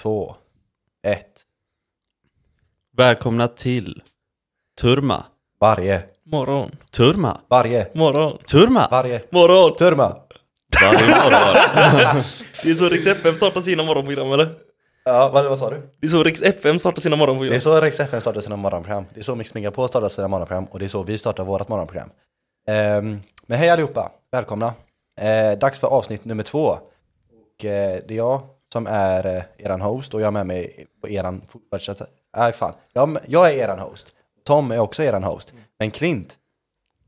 två, ett. Välkomna till Turma. Varje, Morgon. Turma. varje, Morgon. Turma. varje. Morgon! Turma! Varje morgon. Det är så Rix FM startar sina morgonprogram eller? Ja, vad, vad sa du? Det är så Rix FM startar sina Det är morgonprogram. så Rix FM startar sina morgonprogram. Det är så Mix Megapol startar sina morgonprogram och det är så vi startar vårt morgonprogram. Ehm, men hej allihopa, välkomna. Eh, dags för avsnitt nummer två. Och eh, det är jag som är eh, eran host och jag har med mig på eran fortsatta... Nej fan, jag, jag är eran host. Tom är också eran host. Men Klint,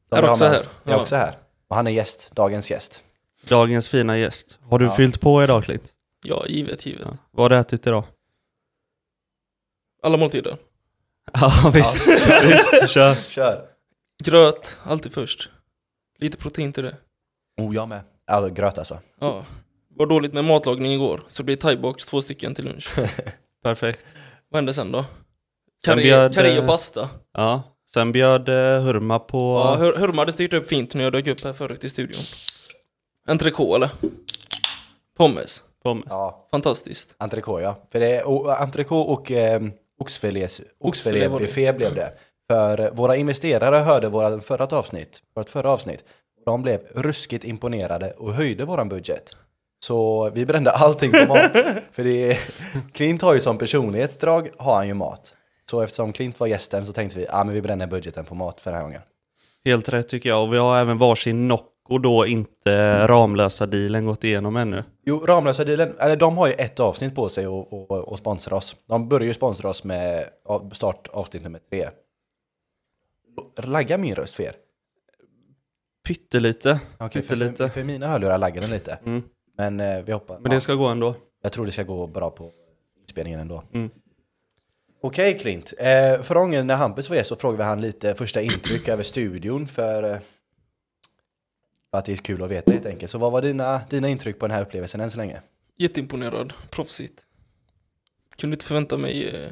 som Är vi har också med här. oss, är Ja. också här. Och han är gäst, dagens gäst. Dagens fina gäst. Har du Ja. fyllt på idag Klint? Ja, givet, givet. Ja. Vad har du ätit idag? Alla måltider. Ja visst, visst, kör. Kör! Gröt, alltid först. Lite protein till det. Oh, jag med. Alltså gröt alltså. Ja. Var dåligt med matlagning igår, så det blir thaibox två stycken till lunch. Perfekt. Vad hände sen då? Sen Curry, bjöd, curry eh, och pasta. Ja. Sen bjöd eh, Hurma på... Ja, hur, Hurma hade styrt upp fint när jag dök upp här förut i studion. Entrecote eller? Pommes. Pommes. Ja, Fantastiskt. Entrecote ja. För det är och, entrecote och eh, oxfilés, Oxfilé var det. oxfilébuffé blev det. För eh, våra investerare hörde våra förra avsnitt, vårt förra avsnitt. De blev ruskigt imponerade och höjde våran budget. Så vi brände allting på mat. för det är, Clint har ju som personlighetsdrag, har han ju mat. Så eftersom Clint var gästen så tänkte vi, ja ah, men vi bränner budgeten på mat för den här gången. Helt rätt tycker jag. Och vi har även varsin Nocco då inte Ramlösa dealen gått igenom ännu. Jo, Ramlösa dealen, eller de har ju ett avsnitt på sig och, och, och sponsra oss. De börjar ju sponsra oss med av- start avsnitt nummer tre. Laggar min röst för er? Pyttelite. Okej, för, för, Pyttelite. för mina hörlurar laggar den lite. Mm. Men eh, vi hoppas. Men det ska gå ändå. Jag tror det ska gå bra på inspelningen ändå. Mm. Okej Klint, eh, förra gången när Hampus var gäst så frågade vi han lite första intryck över studion för, eh, för att det är kul att veta helt enkelt. Så vad var dina, dina intryck på den här upplevelsen än så länge? Jätteimponerad, proffsigt. Kunde inte förvänta mig eh,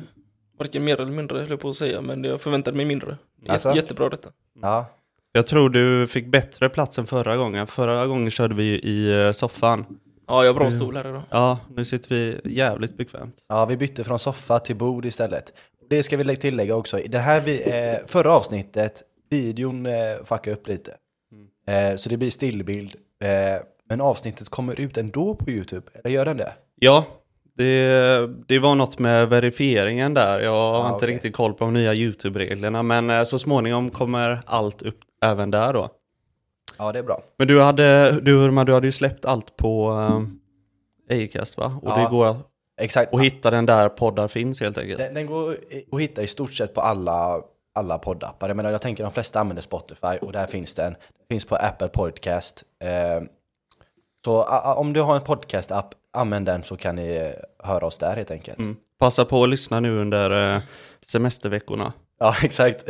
varken mer eller mindre, höll jag på att säga, men jag förväntade mig mindre. Jä- Alltså? Jättebra detta. Mm. Ja, Jag tror du fick bättre plats än förra gången. Förra gången körde vi ju i eh, soffan. Ja, jag har bra Mm. stol här idag. Ja, nu sitter vi jävligt bekvämt. Ja, vi bytte från soffa till bord istället. Det ska vi lä- tillägga också. I det här vi, eh, förra avsnittet, videon eh, fuckade upp lite. Eh, så det blir stillbild. Eh, men avsnittet kommer ut ändå på YouTube. Eller gör den det? Ja, det, det var något med verifieringen där. Jag har Ah, inte okej. riktigt koll på de nya YouTube-reglerna, men eh, så småningom kommer allt upp även där då. Ja, det är bra. Men du hade, du Hurma, du hade ju släppt allt på eh, Acast va? Och Ja. det går Exakt. att hitta den där poddar finns helt enkelt. Den, den går i- att hitta i stort sett på alla, alla poddappar. Jag menar, jag tänker de flesta använder Spotify och där finns den. Den finns på Apple Podcast. Eh, så a- a- om du har en podcast-app, använd den så kan ni eh, höra oss där helt enkelt. Mm. Passa på att lyssna nu under eh, semesterveckorna. Ja, exakt.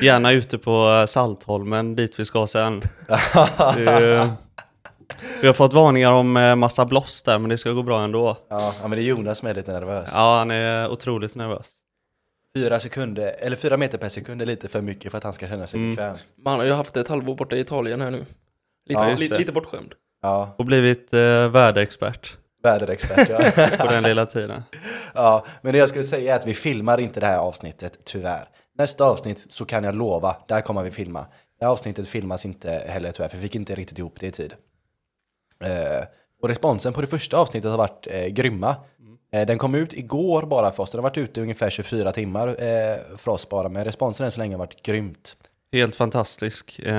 Gärna ute på eh, Saltholmen dit vi ska sen. Det är ju- vi har fått varningar om eh, massa blås där men det ska gå bra ändå. Ja, ja, men det är Jonas som är lite nervös. Ja, han är otroligt nervös. Fyra sekunder, eller fyra meter per sekund är lite för mycket för att han ska känna sig Mm. bekväm. Man har ju haft ett halvår borta i Italien här nu. Lite, Ja, just lite, det. lite bortskämd. Ja, Och blivit eh, värdeexpert väderexpert ja. på den lilla tiden. ja. Men det jag skulle säga är att vi filmar inte det här avsnittet, tyvärr. Nästa avsnitt så kan jag lova, där kommer vi filma. Det här avsnittet filmas inte heller tyvärr, för vi fick inte riktigt ihop det i tid. Eh, och responsen på det första avsnittet har varit eh, grymma. Eh, den kom ut igår bara för oss, den har varit ute i ungefär 24 timmar eh, för oss bara, men responsen än så länge har varit grymt. Helt fantastisk. Eh,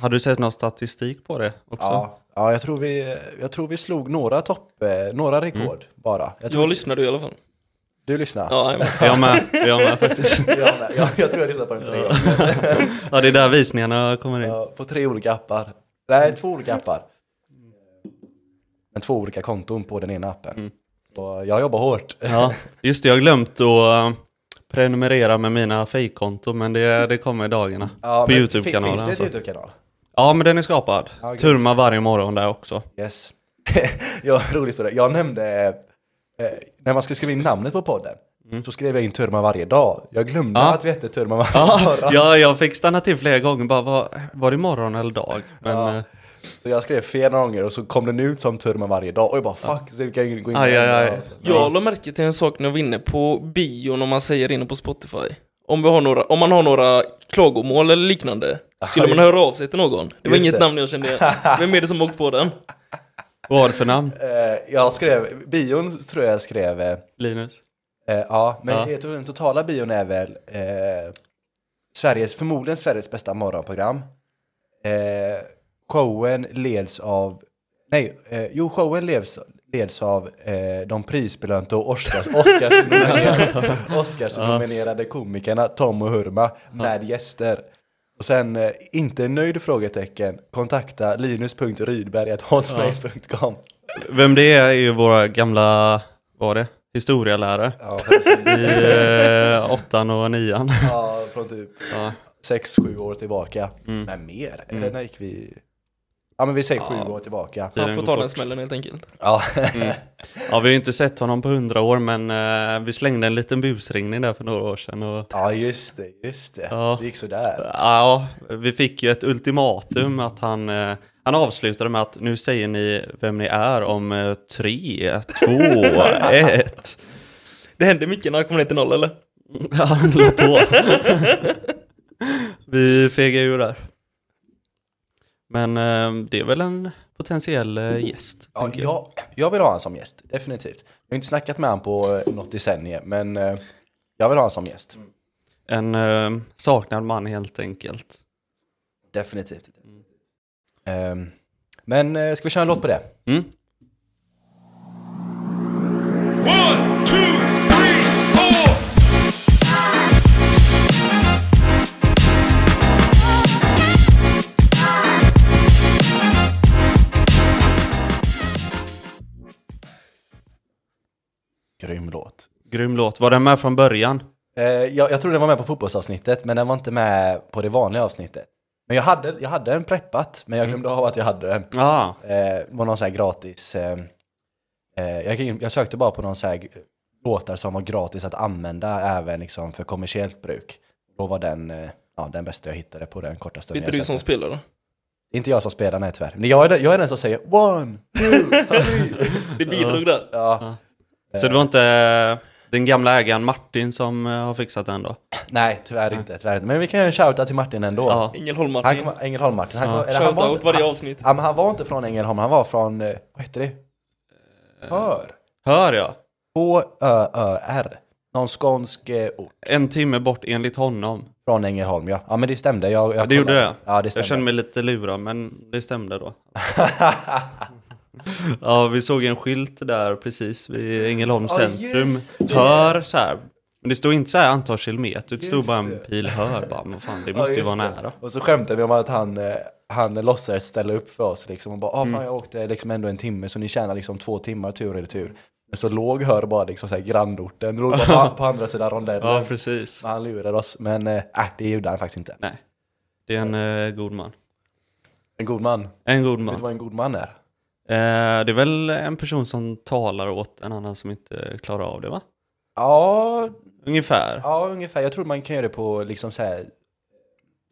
har du sett någon statistik på det också? Ja, ja jag, tror vi, jag tror vi slog några topp, eh, några rekord Mm. bara. Jag tror, Jag lyssnade ju i alla fall. Du lyssnade? Ja, jajamän. Jag med, jag med faktiskt. Jag, med. jag, jag tror jag lyssnade på den tre gånger. Ja, det är där visningarna kommer in. Ja, På tre olika appar. Mm. Nej, två olika appar. Men två olika konton på den ena appen. Mm. Och jag jobbar hårt. Ja, just det, jag har glömt att eh, prenumerera med mina fejkkonton men det, det kommer i dagarna. Ja, på men YouTube-kanalen Finns det alltså. en YouTube-kanal? Ja, men den är skapad. Ja, gud. Turma varje morgon där också. Yes. ja, rolig historia. Jag nämnde, eh, eh, när man skulle skriva in namnet på podden, så skrev jag in Turma varje dag. Jag glömde Mm. Ja. att vi hette Turma varje Ja, morgon. ja, jag fick stanna till flera gånger. Bara, var, var det morgon eller dag? Men, Ja. eh, Så jag skrev fel några gånger och så kom den ut som Turman varje dag och jag bara fuck, så vi kan gå in Aj, och aj, ändra aj. oss. Jag la märke till en sak när jag var inne på bion, om man säger inne på Spotify. Om, vi har några, om man har några klagomål eller liknande, skulle man just- höra av sig till någon. Det var Just inget det. namn jag kände igen. Vem är det som åkt på den? Vad var det för namn? Eh, Jag skrev, bion tror jag skrev, eh, Linus? eh, ja, men Ja. jag tror den totala bion är väl eh, Sveriges, förmodligen Sveriges bästa morgonprogram. Eh, showen leds av, nej, eh, jo showen leds, leds av eh, de prisbelönta och Oscars, Oscarsnominerade, Oscarsnominerade komikerna Tom och Hurma med gäster. Och sen, eh, inte nöjd frågetecken, kontakta linus.rydberg.hotmail.com. Vem det är är ju våra gamla, vad var det? Historielärare. Ja, precis. I eh, åttan och nian. Ja, från typ Ja. 6-7 år tillbaka. Nej, mer? Eller när gick vi? Ja, men vi säger 7 Ja. år tillbaka. Mm. Tiden Han får går ta fort. den smällen helt enkelt. Ja, Ja, vi har ju inte sett honom på hundra år, men eh, vi slängde en liten busringning där för några år sedan. Och, ja just det, just det. Ja. Det gick sådär. ja, vi fick ju ett ultimatum att han, eh, han avslutade med att nu säger ni vem ni är om eh, tre, två, ett. Det hände mycket när han kom ner till noll eller? Ja, han la på. vi fegade ju där. Men eh, det är väl en potentiell eh, gäst. Ja, tänker jag. jag, jag vill ha han som gäst, definitivt. Jag har inte snackat med han på eh, något decennium, men eh, jag vill ha han som gäst. En eh, saknad man helt enkelt. Definitivt. Ehm, men eh, ska vi köra en låt på det? Mm. One, two, three, four. Grym låt. Grym låt. Var den med från början? Eh, jag, jag tror den var med på fotbollsavsnittet, men den var inte med på det vanliga avsnittet. Men jag hade, jag hade den preppat, men jag glömde av att jag hade den. Ja, Eh, det var någon så här gratis. Eh, eh, jag, gick in- jag sökte bara på någon så här g- låtar som var gratis att använda även liksom för kommersiellt bruk. Då var den, eh, ja, den bästa jag hittade på den korta Det är stunden. inte du jag som sökte. spelar då? inte jag som spelar, nej tyvärr. Men jag är, den- jag är den som säger one, two, three. Det bidrog där. ja, så det var inte eh, den gamla ägaren Martin som eh, har fixat den då? nej, tyvärr inte, tyvärr inte. Men vi kan göra en shoutout till Martin ändå. Ja. Han Ängelholm-Martin. kommer, Ängelholm-Martin. Han, Ja. kommer- eller han var Shoutout inte- varje han- avsnitt. Ja, men han var inte från Ängelholm, han var från, eh, vad heter det? Eh. Hör. Hör jag? H-Ö-Ö-R. Någon skånsk eh, ort. En timme bort enligt honom. Från Ängelholm, ja. Ja, men det stämde. Jag, jag Det gjorde kollade. det? Ja, det Jag stämde. kände mig lite lurad, men det stämde då. ja, vi såg en skylt där precis vid Ängelholms Ja, centrum. just det. Hör så här. Men det stod inte så här antal kilometer, det stod Just bara en det. pil hör. Bara, men fan, det Ja, måste ju just vara det. nära. Och så skämtade vi om att han, eh, han låtsades ställa upp för oss liksom. Och bara, ah, Mm. fan jag åkte liksom ändå en timme, så ni tjänar liksom två timmar tur och retur. Men så låg hör bara liksom så här grannorten, låg bara på, på andra sidan rondellen. Ja, precis. Men han lurade oss, men eh, äh, det gjorde han faktiskt inte. Nej, det är en eh, god man. En god man. Vet En god du man. vad en god man är? Eh, det är väl en person som talar åt en annan som inte klarar av det va? Ja, Ungefär. ja ungefär. Jag tror man kan göra det på liksom så här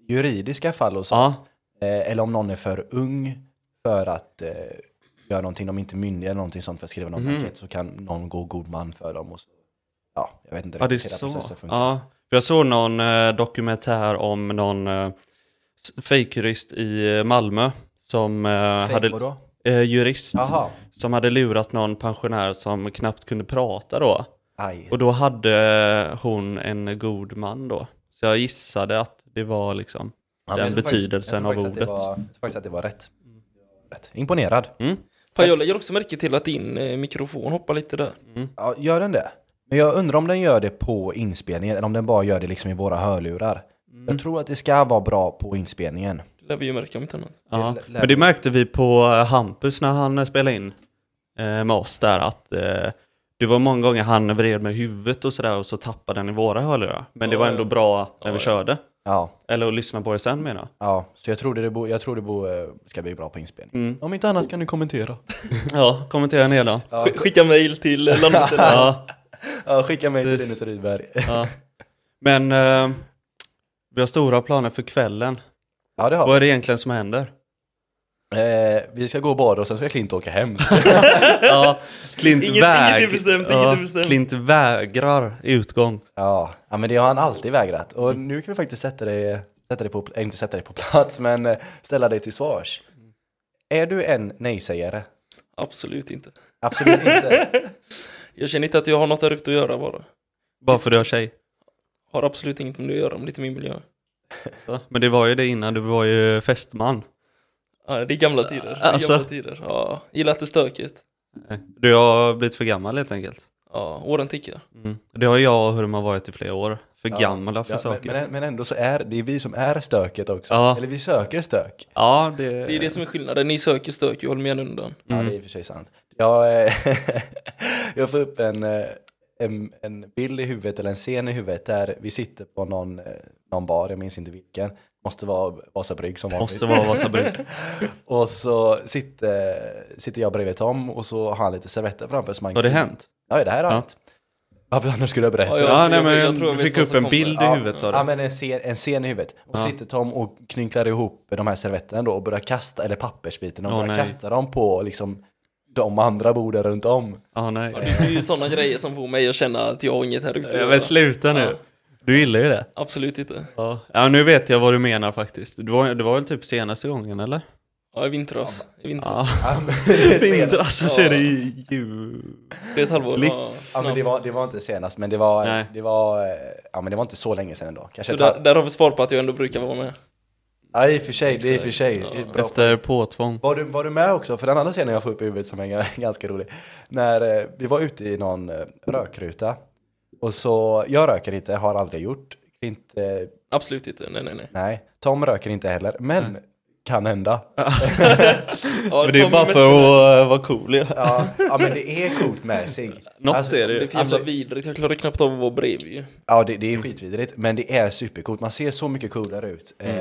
juridiska fall och så. Ja, Eh, eller om någon är för ung för att eh, göra någonting, de är inte myndiga eller någonting sånt för att skriva någon Mhm. blankett så kan någon gå god man för dem. Och så. Ja, jag vet inte ja det är hela så. processen funkar. Ja. För Jag såg någon eh, dokumentär om någon eh, s- fejkjurist i eh, Malmö som eh, Fake, hade vadå? eh, jurist Jaha, som hade lurat någon pensionär som knappt kunde prata då. aj. Och då hade hon en god man då. Så jag gissade att det var liksom Ja, men den jag tror betydelsen faktiskt- av jag tror faktiskt att det Var, jag ordet. tror faktiskt att det var rätt. rätt. Imponerad. mm, Fan, jag lägger också märke till att din eh, mikrofon hoppar lite där. mm. Ja, gör den det? Men jag undrar om den gör det på inspelningen eller om den bara gör det liksom i våra hörlurar. Mm. Jag tror att det ska vara bra på inspelningen. Det lär vi ju märka om inte annat. Ja, Det lär- men det märkte vi på eh, Hampus när han eh, spelade in eh, med oss där att eh, det var många gånger han vred med huvudet och sådär och så tappade den i våra hörlurar. Men det Ja, var ja. ändå bra när Ja, vi ja. körde. Ja, Eller att lyssna på det sen menar jag. ja. så jag tror det, bo, jag tror det bo, eh, ska bli bra på inspelningen. Mm. Om inte annat kan du kommentera. Ja, kommentera ner då. Ja. Sk- Skicka mail till eh, landet eller? Ja, Ja, skicka mig till Precis. Linus Rydberg. ja. Men eh, vi har stora planer för kvällen. Ja, det har vi. Vad är det egentligen som händer? Eh, vi ska gå och bada och sen ska Klint åka hem. Ja, Klint Inget- väg. inget är bestämt, ja, inget är bestämt. Klint vägrar utgång. ja. ja, men det har han alltid vägrat. Och nu kan vi faktiskt sätta dig, sätta dig på, eh, inte sätta dig på plats, men eh, ställa dig till svars. Är du en nej-sägare? Absolut inte. Absolut inte. Jag känner inte att jag har något där ute att göra bara. Bara för du har tjej. Har absolut inget med det att göra, om det inte är min miljö. Ja, Men det var ju det innan, du var ju fästman. Ja, det är gamla tider. Det är Alltså. gamla tider. Ja, gillar inte stöket. Du har blivit för gammal helt enkelt. Ja, åren tickar. Mm. Det har jag och Hurma varit i flera år. För Ja. gamla för Ja, men, saker. men, men ändå så är det är vi som är stöket också. Ja. Eller vi söker stök. Ja, det... Det är det som är skillnaden. Ni söker stök, jag håller mig gärna undan. Ja, Mm. det är i och för sig sant. Jag, eh, jag får upp en, eh, en, en bild i huvudet, eller en scen i huvudet, där vi sitter på någon, eh, någon bar, jag minns inte vilken. Måste vara Vasa brygg som vanligt. Måste vara Vasabruk. Och så sitter, sitter jag bredvid Tom och så har han lite servetter framför sig. Har det hänt? Ja, det här har Ja. hänt. Varför annars skulle jag berätta? Ja, Ja, jag- Ja, nej, men jag tror jag du vet fick vad upp som en kommer. bild i Ja. huvudet sa du. men en scen, en scen i huvudet. Och Ja. sitter Tom och knynklar ihop de här servetterna då och börjar kasta, eller pappersbiten, och Åh, börjar nej. kasta dem på liksom de andra borden runt om. Ja, Ja, nej. det är ju sådana grejer som får mig att känna att jag har inget här ute att Ja, göra. men sluta Ja. nu. Du gillar ju det. Absolut inte. Ja. ja, nu vet jag vad du menar faktiskt. Det var, det var väl typ senaste gången eller? Ja, i vintras. I vintras. Ja. Ja, men det är senast. Vintras, så är det ju jul. Det är ett halvår. Klick. Ja. Ja, men det, var, det var inte senast, men det var, Nej. det var, eh, ja, men det var inte så länge sedan ändå. Kanske Så ett där, halv... där har vi svar på att jag ändå brukar vara med. Ja, i och för sig, det är i och för sig. Ja. Det är bra. Efter påtvång. Var du, var du med också? För den andra scenen jag får upp i huvudet som är g- ganska rolig. När eh, vi var ute i någon eh, rökruta. Och så, jag röker inte, har aldrig gjort. Inte, eh, Absolut inte. Nej, nej, nej. nej. Tom röker inte heller, men Mm. kan hända. Ja, Men det är Tom bara mest- för att eh, vara cool. Ja. Ja, ja men det är coolt med sig. Något är det Det är ju. för jävla Alltså- vidrigt. Jag klarar knappt av att vara bredvid ju. Ja, det, det är skitvidrigt, men det är supercoolt. Man ser så mycket coolare ut eh,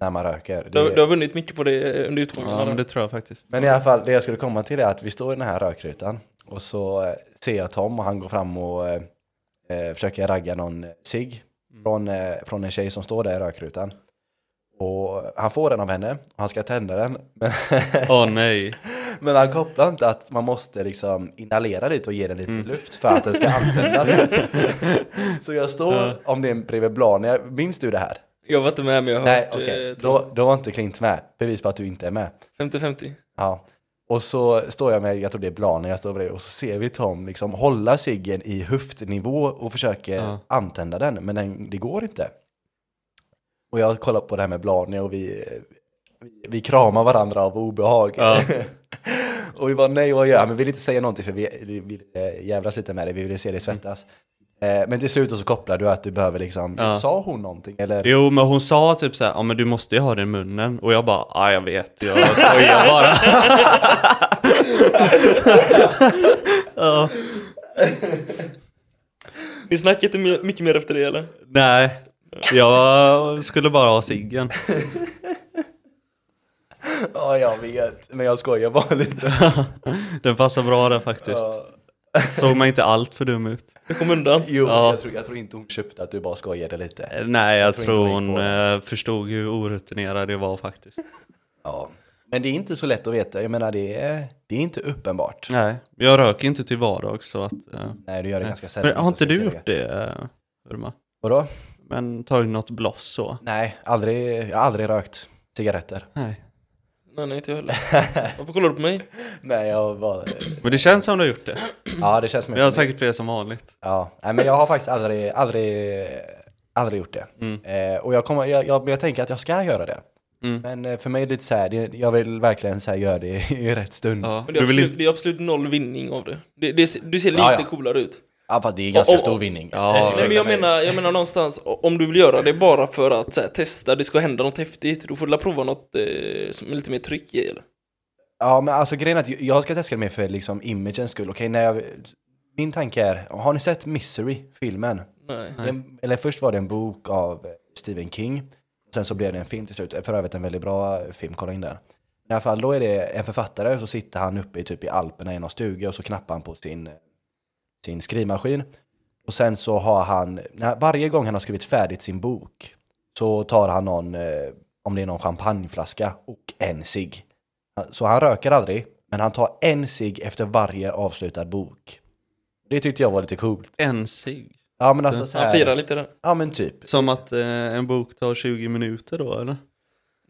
när man röker. Det Du, har- är- du har vunnit mycket på det under utgången. Ja, eller? men det tror jag faktiskt. Men i alla fall, det jag skulle komma till är att vi står i den här rökrutan och så eh, ser jag Tom och han går fram och eh, eh, försöker ragga någon cigg från, eh, från en tjej som står där i rökrutan. Och han får den av henne och han ska tända den. Men, Åh nej. men han kopplar inte att man måste liksom inhalera lite och ge den lite luft för att den ska antändas. så jag står, om det är en bredvid Blania, minns du det här? Jag var inte med men jag har Nej, hört okej. eh, Då, då var inte Klint med. Bevis på att du inte är med. 50-50. Ja. Och så står jag med, jag tror det är Blanen jag står bredvid, och så ser vi Tom liksom hålla ciggen i höftnivå och försöker Ja. antända den, men den, det går inte. Och jag kollar på det här med Blanen och vi, vi, vi kramar varandra av obehag. Ja. och vi bara nej, vad gör jag? Men vi vill inte säga någonting för vi, vi vill eh, jävlas lite med det, vi vill se dig svettas. Eh, Men till slut så kopplar du att du behöver liksom, Mm. Ja. sa hon någonting? Eller? Jo, men hon sa typ så här, ja men du måste ju ha den i munnen. Och jag bara, ja jag vet, jag skojar bara. Ni snackade inte my- mycket mer efter det eller? nej, jag skulle bara ha ciggen. Ja, jag vet, men jag skojar bara lite. Den passar bra där faktiskt. Ja. Såg man inte allt för dum ut? Jag kom undan. Jo, men Ja. jag, tror, jag tror inte hon köpte att du bara skojade lite. Eh, Nej, jag, tror inte tror hon gick hon på eh, förstod hur orutinerad jag var faktiskt. Ja. Men det är inte så lätt att veta, jag menar det är, det är inte uppenbart. Nej, jag röker inte till vardags så att... eh, Nej, du gör det ganska sällan. men har inte Så du det- gjort det, eh, Urma? Vadå? Men tagit något bloss så? Nej, aldrig, jag har aldrig rökt cigaretter. Nej. Nej, nej inte jag heller. Varför kollar du på mig? Nej, jag var... Men det känns som du har gjort det. Ja, det känns som Men jag har säkert fel som vanligt. Ja, nej, men jag har faktiskt aldrig, aldrig, aldrig gjort det. Mm. Eh, och jag, kommer, jag, jag, jag tänker att jag ska göra det. Mm. Men eh, för mig är det lite så här, det, jag vill verkligen så här, göra det i rätt stund. Ja, Ja. Men det, är Du vill absolut, inte... det är absolut noll vinning av det. det, det ser- du ser lite Ja, ja. coolare ut. fast det är ganska Och- och- stor vinning. Ja, Nej, men jag menar, jag menar någonstans, o- om du vill göra det bara för att så här, testa, det ska hända något häftigt, då får du la prova något eh, som är lite mer tryck i eller? Ja, men alltså grejen är att jag ska testa det mer för liksom imagens skull. Okej, när jag... Min tanke är, har ni sett Misery, filmen? Nej. Den, eller först var det en bok av eh, Stephen King. Sen så blev det en film till slut. För övrigt en väldigt bra eh, film, kolla in den. I alla fall, då är det en författare och så sitter han uppe i, typ i Alperna i någon stuga och så knappar han på sin, eh, sin skrivmaskin. Och sen så har han, när, varje gång han har skrivit färdigt sin bok så tar han någon, eh, om det är någon champagneflaska och en cigg. Så han röker aldrig, men han tar en cigg efter varje avslutad bok. Det tyckte jag var lite coolt. En cigg. Ja men alltså så Mm. Han här, firar lite där. Ja men typ. Som att eh, en bok tar 20 minuter då eller?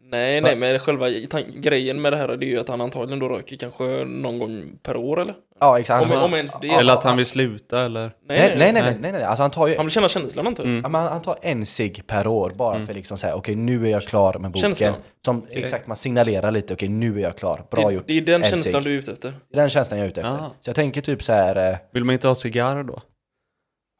Nej, nej, men själva tan- grejen med det här är det ju att han antagligen då röker kanske någon gång per år eller? Ja exakt. Om, Han- om ens det. Eller att han vill sluta eller? nej, Nej nej nej, nej nej nej. Alltså han tar ju Han vill känna känslan antar jag. Mm. Ja, men han tar en cigg per år bara för liksom säga okej nu är jag klar med boken. Mm. Känslan. Som, exakt, man signalerar lite okej nu är jag klar, bra det, gjort. det är den en känslan cigg. du är ute efter. Det är den känslan jag är ute efter. Ah. Så jag tänker typ så här, eh, Vill man inte ha cigarr då?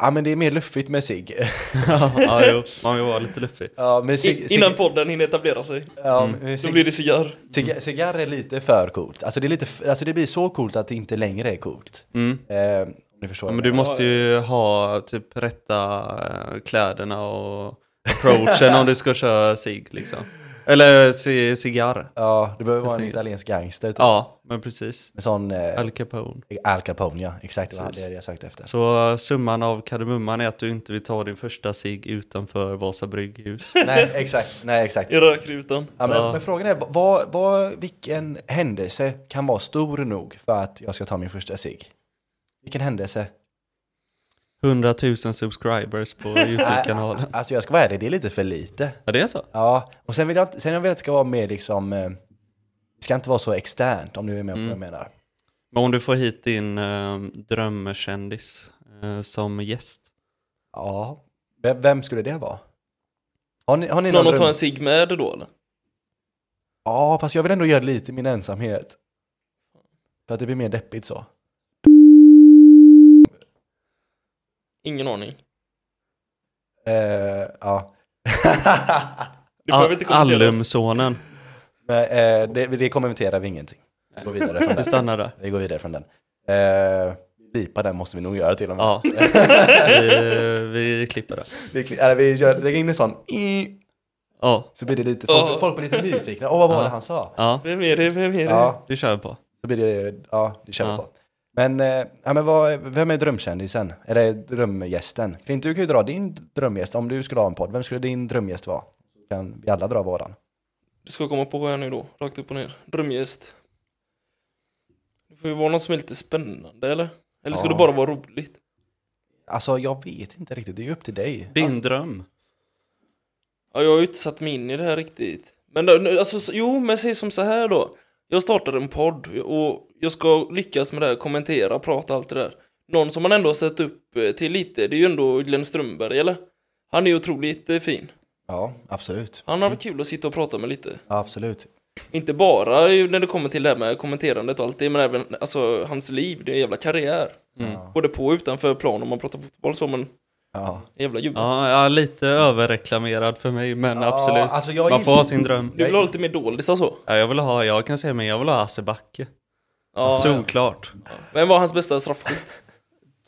ja men det är mer luffigt med cigg. ja, jo, man vill vara lite luffig. ja, men cigg- I, cigg- innan podden hinner etablera sig. ja, Mm. men Då cigg- blir det cigarr. cigg- Cigarr är lite för coolt. Alltså det, är lite, f- alltså det blir så coolt att det inte längre är coolt. Mm. Eh, om ni förstår. Ja, men vad du jag måste ju ha typ rätta eh, kläderna och approachen om du ska köra cigg liksom. Eller ci- cigarr. menar. ja, du behöver vara en tänker- italiensk gangster typ. Ja, men precis. Med sån eh, Al Capone. Al Capone ja, exakt vad Precis. hade jag sökt efter. Så eh, summan av kardemumman är att du inte vill ta din första cigg utanför Vasa brygghus. nej exakt, nej exakt. I rökrutan. Ja, men, Ja. men frågan är, vad, vad, vilken händelse kan vara stor nog för att jag ska ta min första cigg? Vilken händelse? 100 000 subscribers på YouTube-kanalen. Alltså jag ska vara ärlig, det är lite för lite. Ja, det är så? Ja, och sen vill jag, inte- sen jag vill att det ska vara mer liksom, eh, det ska inte vara så externt om du är med på Mm. vad jag menar. Men om du får hit din eh, drömkändis eh, som gäst. Ja, vem, vem skulle det vara? Har ni, har ni någon, Någon att ta dröm? en cigg med då eller? Ja, fast jag vill ändå göra lite i min ensamhet. För att det blir mer deppigt så. Ingen aning. Eh, ja. Du behöver inte kommentera oss. Allumsonen. Men, eh, det, det kommenterar vi ingenting. Vi går vidare från Vi det. stannar där. Vi går vidare från den. Eh, bipa den måste vi nog göra till och med. Ja, vi, vi klipper det. Vi, kli- eller vi gör, lägger in en sån i, Ja, så blir det lite, folk, Ja. folk blir lite nyfikna. Åh, vad var Ja. det han sa? ja, Vem är det? Vem är det? Ja, det kör vi på. så blir det, ja, det kör vi Ja. på. Men, eh, ja, men vad, vem är drömkändisen? Eller drömgästen? Klint, du kan ju dra din drömgäst. Om du skulle ha en podd, vem skulle din drömgäst vara? Kan vi alla dra våran? Du ska komma på här nu då, rakt upp och ner. Drömgäst. Det får ju vara något som är lite spännande eller? Eller ska Ja. det bara vara roligt? Alltså, jag vet inte riktigt. Det är ju upp till dig. Din Alltså, dröm. Ja, jag har ju inte satt mig in i det här riktigt. Men då, nu, alltså, så- jo, men säg som så här då. Jag startar en podd och jag ska lyckas med det här, kommentera, prata, allt det där. Någon som man ändå har sett upp eh, till lite, det är ju ändå Glenn Strömberg, eller? Han är ju otroligt eh, fin. ja, absolut. Han har varit kul att sitta och prata med lite. Absolut. Inte bara ju när det kommer till det här med kommenterandet och allt det, men även alltså, hans liv, det är en jävla karriär. Mm. Ja. Både på och utanför plan om man pratar fotboll så, men Ja. en jävla gubbe. Ja, ja, lite överreklamerad för mig, men Ja, absolut. alltså, jag Man är- får ha sin dröm. Du vill ha lite mer alltså? doldisar så? Ja, jag vill ha, jag kan säga, men jag vill ha Hasse Backe. Ja, ja. Solklart. Vem var hans bästa straffskytt?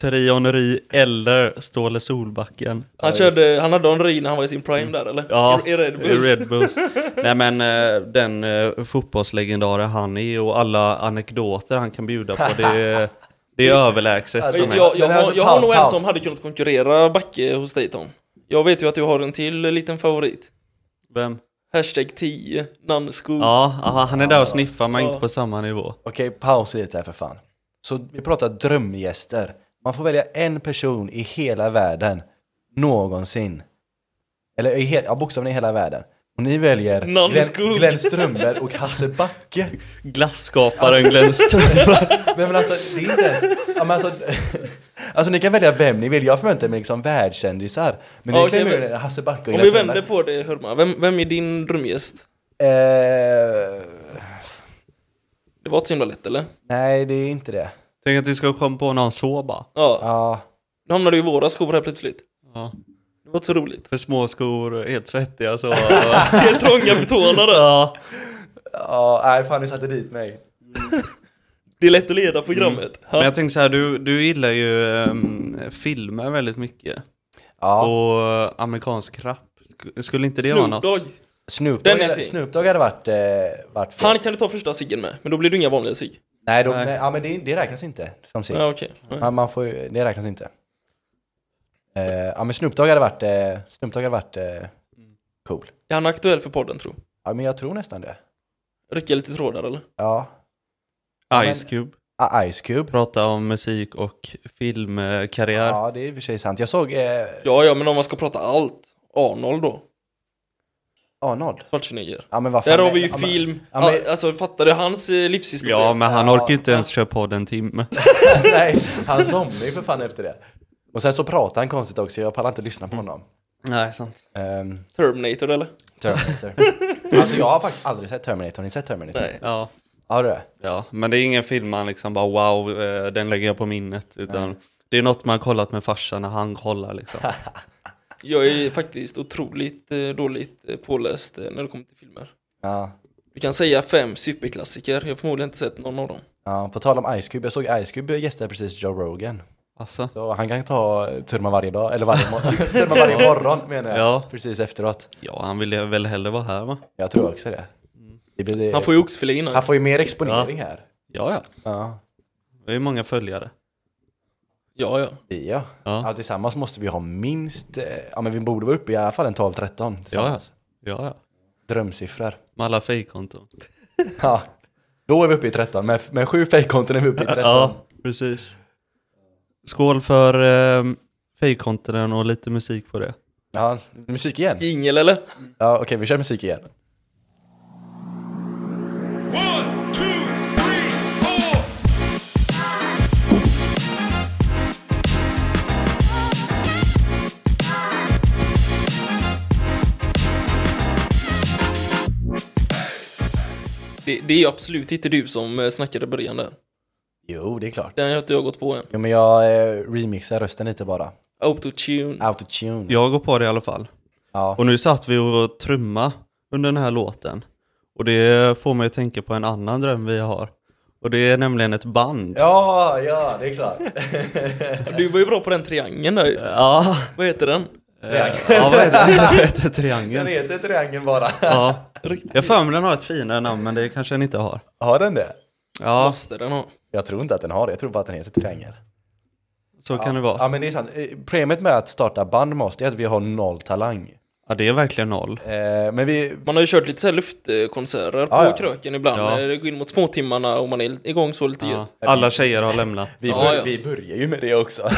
Trion Ry eller Ståle Solbacken. Han, körde, han hade en ri när han var i sin prime där eller? Ja, I, i Red Bulls. i Red Bulls. Nej men eh, den eh, fotbollslegendaren han är och alla anekdoter han kan bjuda på, det är, det är överlägset för jag, mig. jag, jag, Men alltså, har, jag har paus, nog en paus. som hade kunnat konkurrera Backe hos dig Tom. Jag vet ju att du har en till eh, liten favorit. Vem? Hashtag 10, Nanneskog. Ja, aha, han är där och sniffar men Ja. inte på samma nivå. Okej, paus lite här för fan. Så vi pratar drömgäster. Man får välja en person i hela världen. Någonsin. Eller i he- ja, bokstavligen i hela världen. Och ni väljer Nanne Glenn, Skog. Glenn Strömberg och Hasse Backe. Glasskaparen Glenn Alltså. Strömberg. Men, men alltså, det är inte ens... Ja, men alltså, alltså ni kan välja vem ni vill. Jag förväntar mig liksom världskändisar. Men ni Okej, klämmer men- ju Hasse Backe och Om Glenn vi vänder Strömberg. på det Hurma, vem, vem är din drömgäst? Eh, Det var inte så himla lätt eller? nej, det är inte det. Tänk att du ska komma på någon så bara. Ja, Ja, nu hamnade du i våra skor här plötsligt. Ja. Det var inte så roligt. För små skor, helt svettiga så. Helt trånga med tårna där. ja. ja nej, fan ni satte dit mig. Det är lätt att leda programmet. Mm. Men Ja. jag tänker så här, du, du gillar ju ehm, filmer väldigt mycket. Ja. Och amerikansk rap. Sk- Skulle inte det vara Snoop något? Dogg, Snoop Den Dogg, är hade- fin. Snoop Dogg hade varit... Eh, varit fet. han kan du ta första ciggen med, men då blir det inga vanliga cigg. Nej, de, Nej. nej. ja, men det, det räknas inte som cigg. Ja, okej. Ja, man får, ju- det räknas inte. Eh, ja, men Snoop Dogg hade varit, eh, Snoop Dogg hade varit eh, cool. Är han aktuell för podden tror Ja, men jag tror nästan det. Rycka lite trådar eller? Ja. men- Ice Cube. Ah, Ice Cube. Prata om musik och filmkarriär. Ja, det är i och för sig sant. Jag såg eh, Ja, ja, men om man ska prata allt. Arnold då. Arnold. Schwarzenegger. Ja, men vad fan Där har är- vi ju ja, men- film. ja, men- Ah, Alltså fattar du hans eh, livshistoria? Ja, men han Ja. orkar inte ens köra podd en timme. Nej, han somnade ju för fan efter det. Och sen så pratade han konstigt också, jag pallar inte lyssna på honom. Nej, sant. Ehm, Terminator eller? Terminator. alltså jag har faktiskt aldrig sett Terminator, har ni sett Terminator? Nej. Ja. Har du det? ja, men det är ingen film man liksom bara wow, eh, den lägger jag på minnet. Utan det är något man kollat med farsan när han kollar liksom. Jag är faktiskt otroligt eh, dåligt eh, påläst eh, när det kommer till filmer. Ja. Du kan säga fem superklassiker, jag har förmodligen inte sett någon av dem. ja. På tal om Ice Cube, jag såg Ice Cube gästa precis Joe Rogan. Alltså, Så han kan ta turma varje dag, eller varje, mor- turma varje morgon menar jag. Ja. Precis efteråt. ja, han ville väl hellre vara här va? Jag tror också det. det, blir det. Han får ju oxfilé innan. han får ju mer exponering här. Ja, ja. Ja. Det är många följare. Ja, ja. Vi ja. Ja. ja. Tillsammans måste vi ha minst, eh, ja men vi borde vara uppe i alla fall en 12-13 tillsammans. Ja, ja. Drömsiffror. Med alla fejkkonton. Ja. Då är vi uppe i 13, med, med sju fejkkonton är vi uppe i 13. Ja, precis. Skål för eh, fejkkonton och lite musik på det. Ja, musik igen. Jingel eller? Ja, okej, vi kör musik igen. One, two, three, four. Det, det är ju absolut inte du som eh, snackade i början där. Jo, det är klart. Den har inte jag gått på än. Jo, men jag eh, remixar rösten lite bara. Autotune. Autotune. Jag går på det i alla fall. Ja. Och nu satt vi och trumma under den här låten. Och det får mig att tänka på en annan dröm vi har. Och det är nämligen ett band. Ja, ja, det är klart. Du var ju bra på den triangeln där ju. Ja, Vad heter den? Triangel. ja vad heter det? Vad heter Den triangeln? heter triangeln bara. Ja. Jag har för mig den har ett finare namn men det kanske den inte har. Har den det? Ja, Måste den ha. Jag tror inte att den har det, jag tror bara att den heter triangel. så kan det Ja, vara. men det är sant. Eh, Problemet med att starta band med oss, det är att vi har noll talang. Ja, det är verkligen noll. Eh, men vi... Man har ju kört lite så här luftkonserter på Ja, ja. kröken ibland. Ja. när Det går in mot småtimmarna och man är igång så lite Ja. gött. Alla tjejer har lämnat. Vi, Ja, bör, ja. vi börjar ju med det också.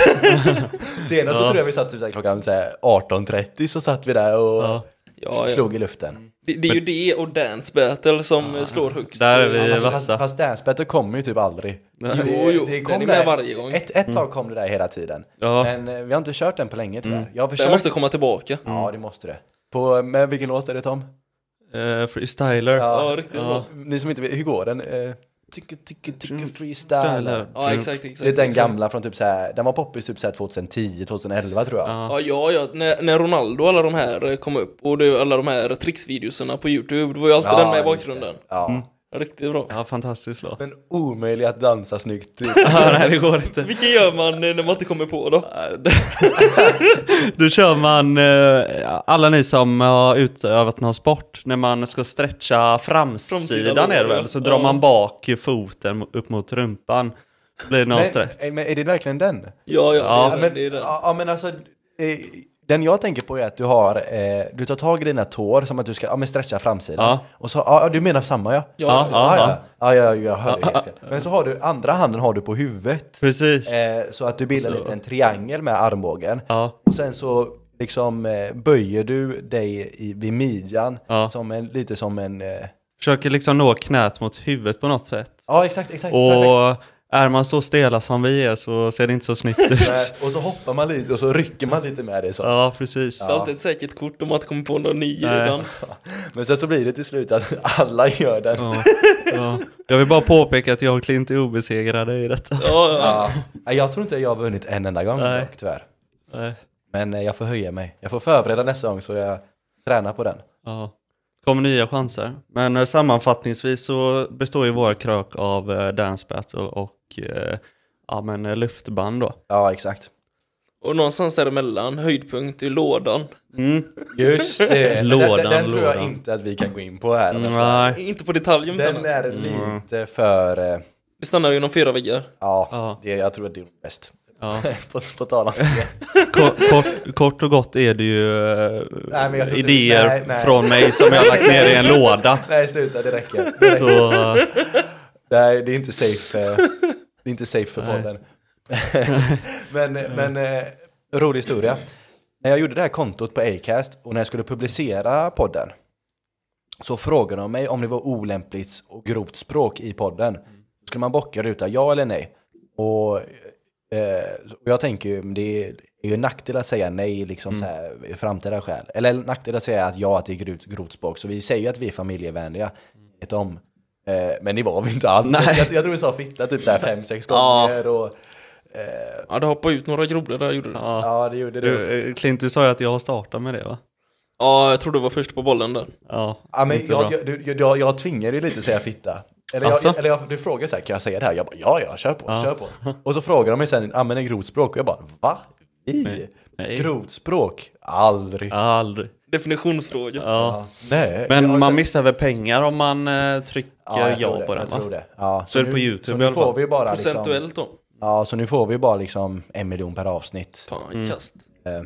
Senast så Ja. tror jag vi satt typ så här klockan så här 18.30 så satt vi där och Ja. Ja, ja. slog i luften. Det, det är ju det och Dance Battle som eh, slår högst. Där är vi Ja, fast- vassa. Fast dancebattle kommer ju typ aldrig. Jo, jo, den är med där- varje gång. Ett, ett tag kom det där hela tiden. Mm. Ja. Men eh, vi har inte kört den på länge tyvärr. Jag har försökt. Den måste komma tillbaka. Ja, det måste det. På, men vilken låt är det Tom? Eh, freestyler. Ja. Ja, riktigt Ja. bra. Ni som inte vet, hur går den? Eh, Tycker, tycker, tycker Mm. Freestyler. freestyler. Ja, exakt, exakt. Det är den exakt. gamla från typ såhär, den var poppis typ såhär 2010, 2011 tror jag. Ja. Ja, ja, ja. När, när Ronaldo och alla de här eh, kom upp och det, alla de här tricksvideorna på YouTube, det var ju alltid Ja, den med just i bakgrunden. Mm. Ja. Riktigt bra. Ja, fantastisk låt. Men omöjlig att dansa snyggt. Ja, nej, det går inte. Vilken gör man eh, när man inte kommer på då? Då kör man, eh, alla ni som har utövat någon sport, när man ska stretcha Framsidan, framsidan är det väl, så ja. drar man bak foten upp mot rumpan. Så blir det någon men, stretch. eh, men är det verkligen den? Ja, Ja, ja, det, är Ja, den, men, det är den. ja, ja, men alltså, eh, den jag tänker på är att du har, eh, du tar tag i dina tår som att du ska, ja men stretcha framsidan. Ja. Och så, ja du menar samma ja. Ja, ja. ja, ja. ja, ja, jag hörde helt fel. Men så har du, andra handen har du på huvudet. Precis. Eh, så att du bildar Så. lite en triangel med armbågen. Ja. Och sen så liksom eh, böjer du dig i, vid midjan, Ja. som en, lite som en... Eh, Försöker liksom nå knät mot huvudet på något sätt. ja, exakt, exakt. perfekt. Och är man så stela som vi är så ser det inte så snyggt ut. Eh, och så hoppar man lite och så rycker man lite med det så. Ja, precis. Det är alltid ett säkert kort om man inte kommer på någon ny Nej. dans. Men sen så blir det till slut att alla gör den. Ja, ja. Jag vill bara påpeka att jag och Clint är obesegrade i detta. Ja, ja. Ja. Nej, Jag tror inte jag har vunnit en enda gång Nej. dock, tyvärr. Nej. Men eh, jag får höja mig. Jag får förbereda nästa gång så jag tränar på den. Ja. Kommer nya chanser. Men eh, sammanfattningsvis så består ju våra krök av eh, dance battle och eh, ja, men, eh, luftband då. Ja, exakt. Och någonstans däremellan, höjdpunkt i lådan. Mm. Mm, Just det. Men Lådan, den, den, den tror jag lådan. Mm. inte att vi kan gå in på här. Nej. Inte på detalj om Den den. är lite för... eh, Det stannar inom fyra väggar. Ja, Ja. Det, jag tror att det är bäst. Ja. på, på tal om det. Kort, kort, kort och gott är det ju eh, Nej, men jag tror inte- idéer nej, nej. från mig som jag har lagt ner i en låda. Nej, sluta, det räcker. Det, räcker. Så, eh, Nej, det är inte safe. eh, Det är inte safe för Nej. podden. men men eh, rolig historia. När jag gjorde det här kontot på Acast och när jag skulle publicera podden så frågade de mig om det var olämpligt och grovt språk i podden. Skulle man bocka och ruta ja eller nej? Och eh, och jag tänker ju, det är ju en nackdel att säga nej liksom så här, i framtida skäl. Eller en nackdel att säga att ja, att det är grovt, grovt språk. Så vi säger ju att vi är familjevänliga. Vet om. Eh, men det var vi inte alls. Nej. Jag, jag tror vi sa fitta typ så här fem, sex Ja. gånger. Och, Ja, det hoppade ut några grodor där, gjorde det. Ja. ja. ja, det gjorde det. Du, eh, Clint, du sa ju att jag har startat med det va? jag tror du var först på bollen där. Ja, Ja, men inte bra. jag, jag, du- jag, jag, jag tvingar dig lite att säga fitta. Eller, Alltså? jag, eller jag, du frågar så här, kan jag säga det här? Jag bara, ja, ja, kör på, Ja. kör på. Och så frågar de mig sen, använder ni grovt språk? Och jag bara, va? Vi? Nej. Grovt språk? Aldrig. Ja, aldrig. Definitionsfråga. Ja. Nej. Men Jag har man sett- missar väl pengar om man eh, trycker Ja, ja, jag tror det, på den jag tror va? det. Ja, så, är det på YouTube så i nu alla fall. får vi bara liksom, Procentuellt då. Ja, så nu får vi bara liksom en miljon per avsnitt. Fan, kast. Eh,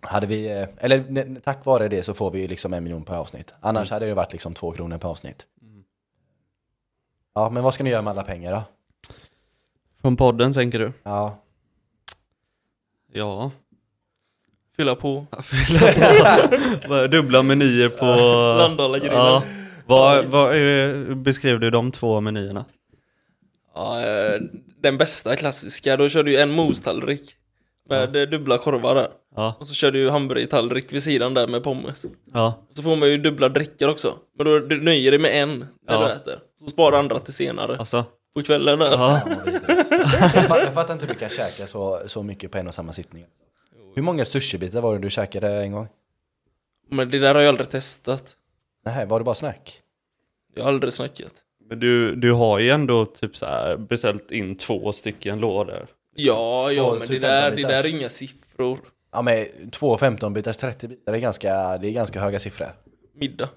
hade vi, eh, eller ne- tack vare det så får vi ju liksom en miljon per avsnitt. Annars Mm. hade det varit liksom två kronor per avsnitt. Ja, men vad ska ni göra med alla pengar då? Från podden tänker du? Ja, Ja. Fylla på. Fylla på. Bara Dubbla menyer på... Landala-grillen. Ja. Vad, vad, eh, beskrev du de två menyerna? Ja, eh, den bästa klassiska, då körde ju en mostallrik med eh, dubbla korvar där. Ja. Och så körde ju hamburgertallrik vid sidan där med pommes. ja. Så får man ju dubbla drickor också. Men då du nöjer dig med en när Ja. du äter. Så sparar andra till senare Alltså. på kvällen där. Ja. fan vad vidrigt. Alltså, jag, fattar, jag fattar inte hur du kan käka så, så mycket på en och samma sittning. Hur många sushibitar var det du käkade en gång? Men det där har jag aldrig testat. Nej, var det bara snack? Jag har aldrig snackat. Men du, du har ju ändå typ så här beställt in två stycken lådor. Ja, ja, Får men det typ där, vänta det lite där här. är inga siffror. Ja, men två 15 bitars 30 bitar, det är ganska, det är ganska höga siffror. Middag.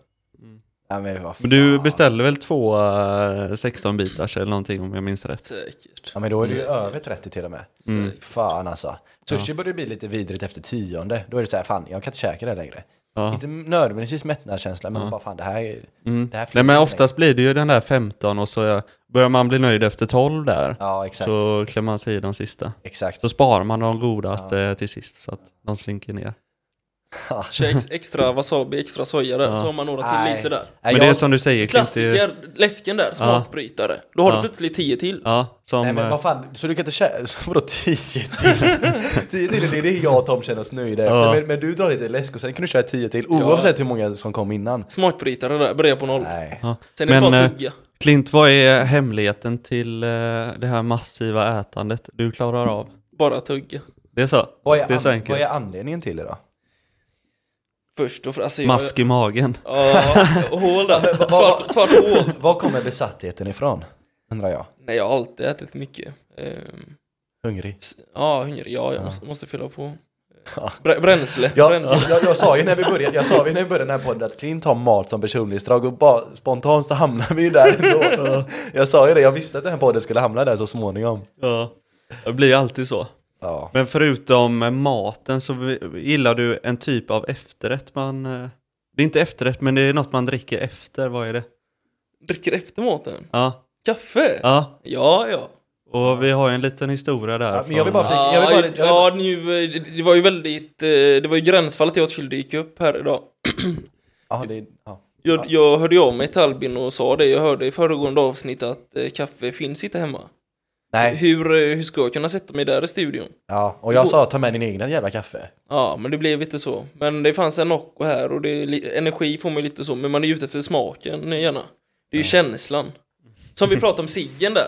Ja, men vad Men du fan. beställde väl två eh, 16-bitars eller någonting om jag minns rätt? Säkert. Ja men då är det ju Säkert. över 30 till och med. Mm. Fan alltså. Sushi börjar bli lite vidrigt efter tionde. Då är det så här, fan jag kan inte käka det här längre. Ja. Inte nödvändigtvis mättnadskänsla, men bara fan det här är... Mm. Det här Nej men oftast blir det ju den där 15 och så börjar man bli nöjd efter 12 där. Ja exakt. Så klämmer man sig i de sista. Exakt. Så sparar man de godaste till sist så att de slinker ner. Kör ex- extra wasabi, extra soja där, Ja. så har man några Nej. till i sig där. Nej, men jag- det är som du säger, Clint, det är- Klassiker, läsken där, smakbrytare. Då har Ja. du plötsligt tio till. Ja, som... Nej men eh, vad fan, så du kan inte käka... Vadå 10 till? 10 till, det är det jag och Tom känner oss nöjda efter. Ja. Men, men du drar lite läsk och sen kan du köra 10 till, oavsett hur många som kom innan. Smakbrytare där, börja på noll. Nej. ja. Sen är det Men, bara eh, att tugga. Clint, vad är hemligheten till eh, det här massiva ätandet du klarar av? Bara tugga. Det är så? Vad det är så är, an- enkelt. vad är anledningen till det då? Först och främst. Alltså, jag- Mask i magen. Ja, hål där. Svart, svart hål. Var kommer besattheten ifrån? Undrar jag. Nej, jag har alltid ätit mycket. Ehm, Hungrig. s- Ja, hungrig. Ja, jag måste, måste fylla på. Ja. Br- bränsle. Jag, bränsle. jag, jag sa ju när vi började, jag sa ju när vi började den här podden att Clint har mat som personlighetsdrag och bara, spontant så hamnar vi ju där ändå. Jag sa ju det, jag visste att den här podden skulle hamna där så småningom. Ja. Det blir ju alltid så. Ja. Men förutom eh, maten så vi- gillar du en typ av efterrätt man... eh, Det är inte efterrätt, men det är något man dricker efter. Vad är det? Dricker efter maten. Ja, Kaffe? Ja, ja. ja. ja. Och vi har ju en liten historia där. Ja, men jag vill bara från- eh, flika- Jag vill bara- jag vill- ja, nu, eh, det- det var ju väldigt, eh, det var ju gränsfallet till att Skyldig gick upp här idag. Ja, det, ja. Jag, jag hörde ju av mig till Albin och sa det, jag hörde i föregående avsnitt att eh, kaffe finns inte hemma. Nej, Hur, eh, hur ska jag kunna sätta mig där i studion? ja, och jag sa ta med din egna jävla kaffe. Ja, men det blev inte så. Men det fanns en Nocco här och det är li- energi får man ju lite så, men man är ju ute efter smaken gärna. Det är ju känslan. Som vi pratade om ciggen där.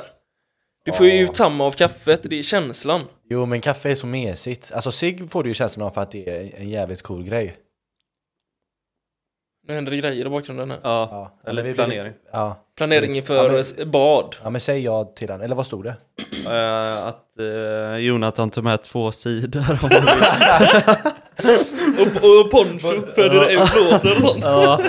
Du får ju Ja. ut samma av kaffet, det är känslan. Jo, men kaffe är så mesigt. Alltså cigg får du ju känslan av för att det är en jävligt cool grej. Nu händer det grejer i bakgrunden här. Ja, eller men vi- planering. Ja. Planeringen Mm. Ja, för men- s- bad. ja, men säg ja till den. Eller vad stod det? Eh, att eh, Jonathan tog med två sidor. Och, och poncho för det är blåser och sånt. Ja.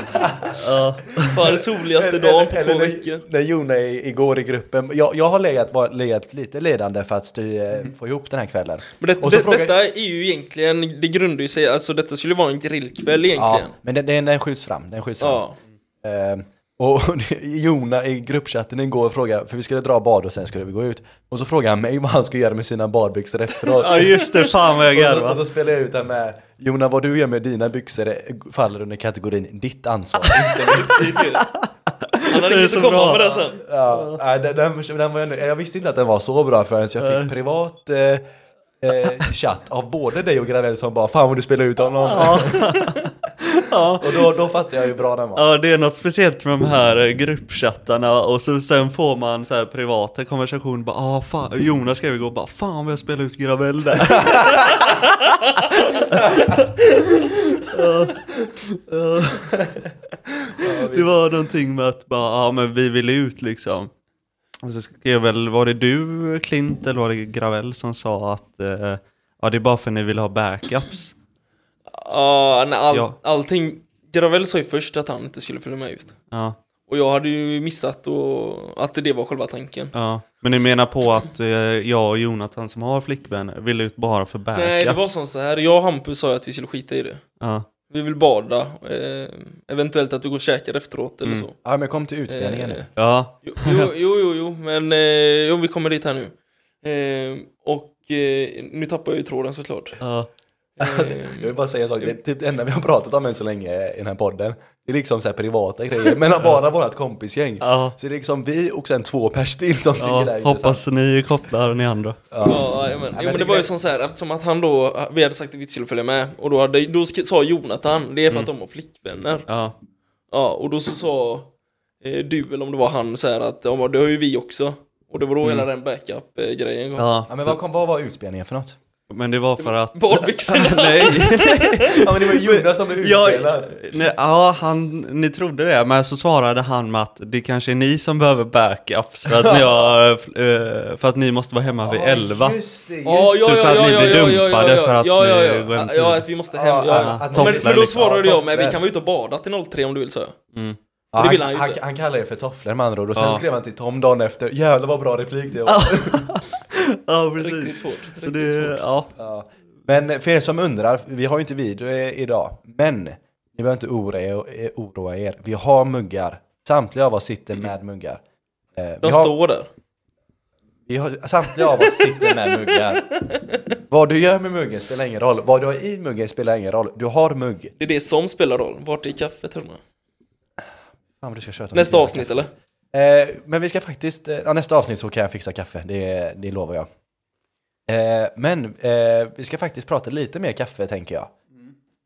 ja. Fan, det soligaste dagen på två när- veckor. När Jona är igår i gruppen, jag, jag har legat, var, legat lite ledande för att sty, eh, få ihop den här kvällen. Mm. Men det, Och så det, frågar- detta är ju egentligen, det grundar ju sig, alltså detta skulle vara en grillkväll Ja, egentligen. men den, den, den skjuts fram. Den skjuts fram. Ja. Ehm, och Jona i gruppchatten igår frågade, för vi skulle dra bad och sen skulle vi gå ut. Och så frågade han mig vad han skulle göra med sina badbyxor efteråt. ja just det, fan vad jag Och så, och garvar. så spelade jag ut det här med Jona, vad du gör med dina byxor är- faller under kategorin ditt ansvar. inte mitt. Det är kul. Han Det hade är inget så att komma bra. med det sen. Ja, nej, den, den, den var, jag nöjd. jag visste inte att den var så bra förrän jag fick privat eh, eh, chatt av både dig och Gravell som bara Fan vad du spelar ut honom. Ja. Och då, då fattade jag hur bra den var. ja, det är något speciellt med de här eh, gruppchattarna och så sen får man så här privata konversationer bara ah, fan, Jonas skrev igår bara fan vad jag spelar ut Gravell där. Ja. Ja. Det var någonting med att bara, ja men vi vill ut liksom. Och så skrev väl, var det du Klint eller var det Gravell som sa att eh, ja det är bara för att ni vill ha backups? Ja, nej, all, Ja. allting. Gravell sa ju först att han inte skulle följa med ut. Ja, Och jag hade ju missat och, att det var själva tanken. ja. Men ni menar på att eh, jag och Jonathan som har flickvänner vill ut bara för backup? Nej, det var som så här. Jag och Hampus sa ju att vi skulle skita i det. Ja, Vi vill bada, eh, eventuellt att du går och käkar efteråt eller Mm. så. Ja men kom till utspelningen Eh, nu. ja, Jo, jo, jo, jo, jo men eh, jo, vi kommer dit här nu. Eh, och eh, nu tappar jag ju tråden såklart. ja. Eh, alltså, Jag vill bara säga en sak, det är typ det enda vi har pratat om än så länge i den här podden. Det är liksom så här privata grejer, men bara vårt kompisgäng. ja. Så det är liksom vi och sen två pers till som tycker det här ja. är intressant. Hoppas ni kopplar ni andra. ja, jajamän. jo, jag men det var tycker- ju som så här, eftersom att han då, eh, vi hade sagt att vi inte skulle följa med, och då, hade, då sk- sa Jonathan, det är för att de har flickvänner. Ja, Ja, och då så sa eh, du, eller om det var han, så här att ja, men det har ju vi också. Och det var då hela den backup-grejen kom. Ja Mm. ja. men vad, kom, vad var utspelningen för något? Men det var för att... Badbyxorna! Nej! Ja men det var ju Jonas som blev Ja, utspelad. nej, ja han, ni trodde det, men så svarade han med att det kanske är ni som behöver backups för att ni, har, eh, för att ni måste vara hemma vid 11. Just det, just Ja, det. så ja, ja, att ja, ni ja, blir ja, ja, dumpade ja, för att ja, ja, ni ja. går hem Ja, tidigt. Ja, att vi måste hem. Ja, Ja, ja. att- Men, tofflor men då liksom. svarade Ja, jag med vi tofflor. kan vara ute och bada till 03 om du vill så. Ja, det han, vill han ju han, inte. han kallar det för tofflor med andra ord och sen Ja. skrev han till Tom dagen efter, jävlar vad bra replik det var. Ja, Riktigt precis. svårt. Så Riktigt det, svårt. ja. Ja. Men för er som undrar, vi har ju inte video eh, idag, men ni behöver inte oroa er, eh, oroa er. Vi har muggar, samtliga av oss sitter med muggar. Eh, vi De har- står där. Vi har, samtliga av oss sitter med muggar. Vad du gör med muggen spelar ingen roll. Vad du har i muggen spelar ingen roll. Du har mugg. Det är det som spelar roll. Vart är kaffet hörni? Fan, vad du ska köta om Nästa det. avsnitt eller? Eh, men vi ska faktiskt, eh, ja, nästa avsnitt så kan jag fixa kaffe. Det, det lovar jag. Eh, men eh, vi ska faktiskt prata lite mer kaffe tänker jag.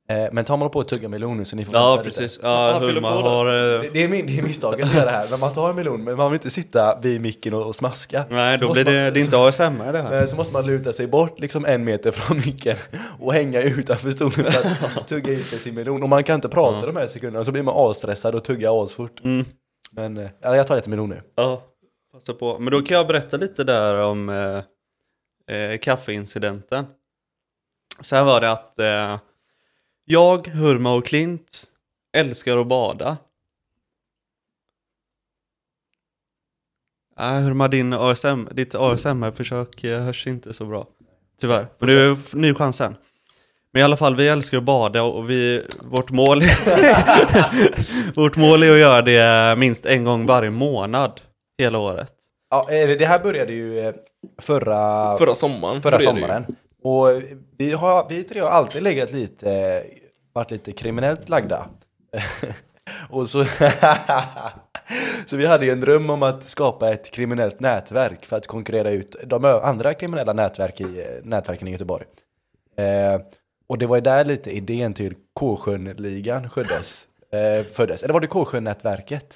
Eh, men Tom håller på att tugga melon nu så ni får Mm. Ja, vänta lite. precis. Ja, Ja, fyller Hulma på då. har... eh, Det, det är min, det är misstaget att göra det här. När man tar en melon, men man vill inte sitta vid micken och, och smaska. Nej, Så då måste blir det, man- det är inte ASMR det här. Eh, Så måste man luta sig bort liksom en meter från micken och hänga utanför stolen för att tugga i sig sin melon. Och man kan inte prata de här sekunderna så blir man asstressad och tuggar asfort. Mm. Men eh, ja, jag tar lite melon nu. Ja, passa på. Men då kan jag berätta lite där om eh, eh, kaffeincidenten. Så här var det att eh, jag, Hurma och Klint älskar att bada. Äh, Hurma, din ASM, ditt ASMR-försök eh, hörs inte så bra. Tyvärr. Men du har f- ny chans sen. Men i alla fall, vi älskar att bada och vi, vårt, mål vårt mål är att göra det minst en gång varje månad hela året. Ja, eh, det här började ju eh, förra, Förra sommaren. förra började det ju. sommaren. Och vi, har, vi tre har alltid legat lite, eh, varit lite kriminellt lagda. och så, så vi hade ju en dröm om att skapa ett kriminellt nätverk för att konkurrera ut de ö- andra kriminella nätverk i, eh, nätverken i Göteborg. Eh, och det var ju där lite idén till K-sjön-ligan föddes. Eh, föddes. Eller var det K-sjön-nätverket?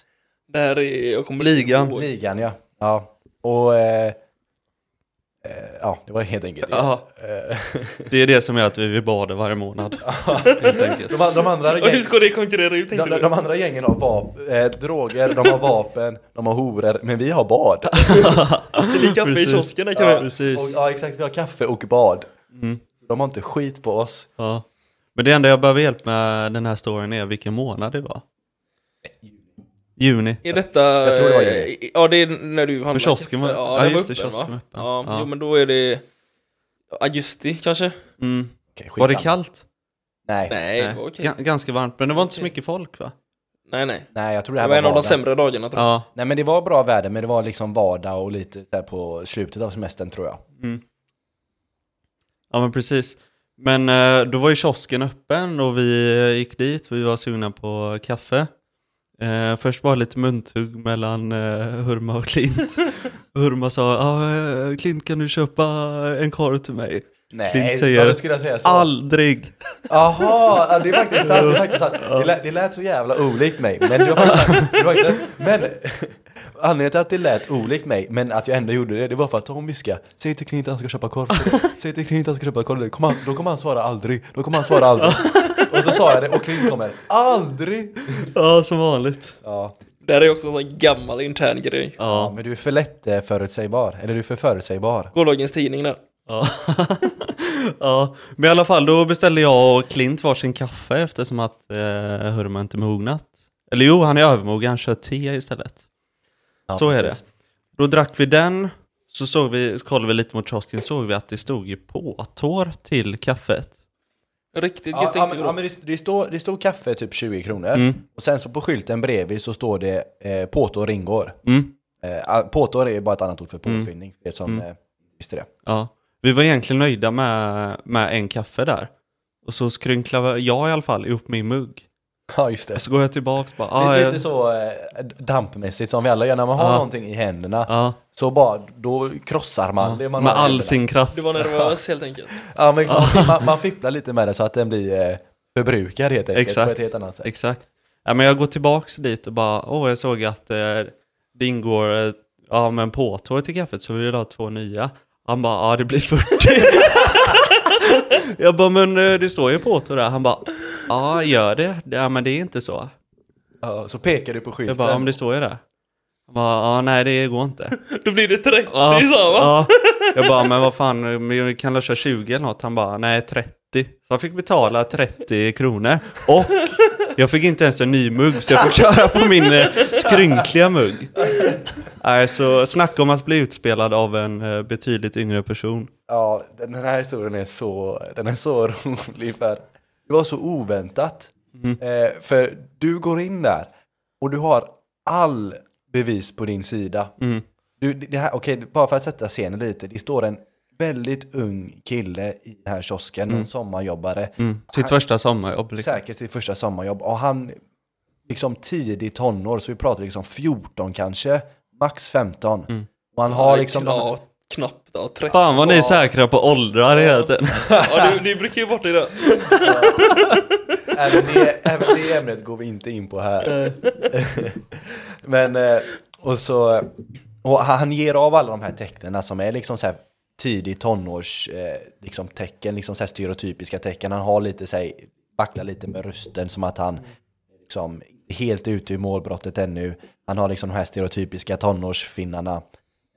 Det här är, jag kommer Ligan. ihåg. Ligan, ja. ja. Och eh, eh, ja, det var helt enkelt det. Ja, Eh, det är det som gör att vi vill bada varje månad. Helt enkelt. De, de, andra Och hur gäng, ska det konkurrera ut de, tänkte de du? de andra gängen har vap, eh, droger, de har vapen, de har horor, men vi har bad. Till kaffe i Precis. kiosken där kan Ja, vi. Och, precis. ja exakt, vi har kaffe och bad. De har inte skit på oss. Ja. Men det enda jag behöver hjälp med den här storyn är vilken månad det var. Juni. Är detta... Jag tror det var eh, juni. Ja, det är när du handlade. kiosken var- Ja, ja, den var just öppen, det, kiosken va? var öppen. Ja, Ja. Jo, men då är det augusti kanske? Mm. Okej, Var det skitsamma. kallt? Nej. nej. Nej, det var okej. Ga- ganska varmt, men det var inte så Okej. mycket folk va? Nej, nej. jag tror det Det här var en av de vardag. sämre dagarna tror jag. Ja. Nej, men det var bra väder, men det var liksom vardag och lite där på slutet av semestern tror jag. Ja men precis. Men eh, då var ju kiosken öppen och vi eh, gick dit, vi var sugna på kaffe. Eh, först var det lite muntugg mellan eh, Hurma och Klint. Hurma sa ah, eh, Klint kan du köpa en korv till mig? Nej, Clint säger- varför skulle jag säga så? Aldrig! Jaha, ja, det är faktiskt sant. Det, är faktiskt sant. Det, lät, det lät så jävla olikt mig. Men, det var faktiskt, det var faktiskt, men anledningen till att det lät olikt mig, men att jag ändå gjorde det, det var för att hon viskade. Säg till Clint att han ska köpa korv. till dig. Säg till Clint att han ska köpa korv. till dig. Kom han, då kommer han svara aldrig. Då kommer han svara aldrig. Och så sa jag det och Clint kommer. Aldrig! Ja som vanligt. Ja, Det här är också en sån gammal intern grej. ja, Ja. men du är för lätt eh, förutsägbar. Eller du är för förutsägbar. Gårdagens tidning där. Ja. ja. Men i alla fall då beställde jag och Klint varsin kaffe eftersom att eh, Hurma inte mognat. Eller jo, han är övermogen, han kör te istället. Ja, Så är precis. Då drack vi den, så såg vi, så kollade vi lite mot kiosken, såg vi att det stod ju påtår till kaffet. Riktigt Ja, gött ja, men, tänkte ja, jag men det, det, står, det står kaffe typ 20 kronor. Mm. Och sen så på skylten bredvid så står det eh, påtår ingår. Mm. Eh, all- påtår är ju bara ett annat ord för påfyllning. Det är som, Mm. eh, visst är det. Ja. Vi var egentligen nöjda med, med en kaffe där. Och så skrynklade jag i alla fall ihop min mugg. Ja, just det. Och så går jag tillbaka och bara... Det Ah, är jag, lite så eh, dampmässigt som vi alla gör när man har Ja. någonting i händerna. ja, Så bara, då krossar man ja. det man Med har i all händerna. sin kraft. Du var nervös helt enkelt. Ja, men man, man, man fipplar lite med det så att den blir eh, förbrukad helt enkelt på ett Exakt. helt annat sätt. Exakt. Ja, men jag går tillbaks dit och bara, åh jag såg att eh, det ingår eh, ja, men påtår till kaffet så vi vill ha två nya. Han bara, ja det blir 40. jag bara, men eh, det står ju påtår där. Han bara, ja gör det? Ja men det är inte så. Ja, så pekar du på Jag bara, ja men skylten. det står ju där. Han bara, ja nej det går inte. Då blir det 30 Ja, så va? ja. Jag bara, men vad fan, vi kan väl köra 20 eller något? Han bara, nej 30. Så jag fick betala 30 kronor. Och jag fick inte ens en ny mugg, så jag fick köra på min eh, skrynkliga mugg. Nej, så snacka om att bli utspelad av en eh, betydligt yngre person. Ja, den den här historien är så, den är så rolig för det var så oväntat. Mm. Eh, för du går in där och du har all bevis på din sida. Mm. Du, det det här, okej, bara för att sätta scenen lite. Det står en väldigt ung kille i den här kiosken, en sommarjobbare. Mm. Sitt första sommarjobb. Liksom. Säkert sitt första sommarjobb. Och han, liksom tidig tonår, så vi pratar liksom 14 kanske, max 15. Mm. Och han har liksom... Kna, knappt, ja 30. Fan vad ni är säkra på åldrar hela tiden. Ja, du, du brukar ju vara det där. även, det, även det ämnet går vi inte in på här. Men, eh, och så, och han ger av alla de här tecknen som är liksom så här tidig tonårs eh, liksom tecken, liksom så här stereotypiska tecken. Han har lite sig, vacklar lite med rösten som att han liksom helt ute ur målbrottet ännu. Han har liksom de här stereotypiska tonårsfinnarna.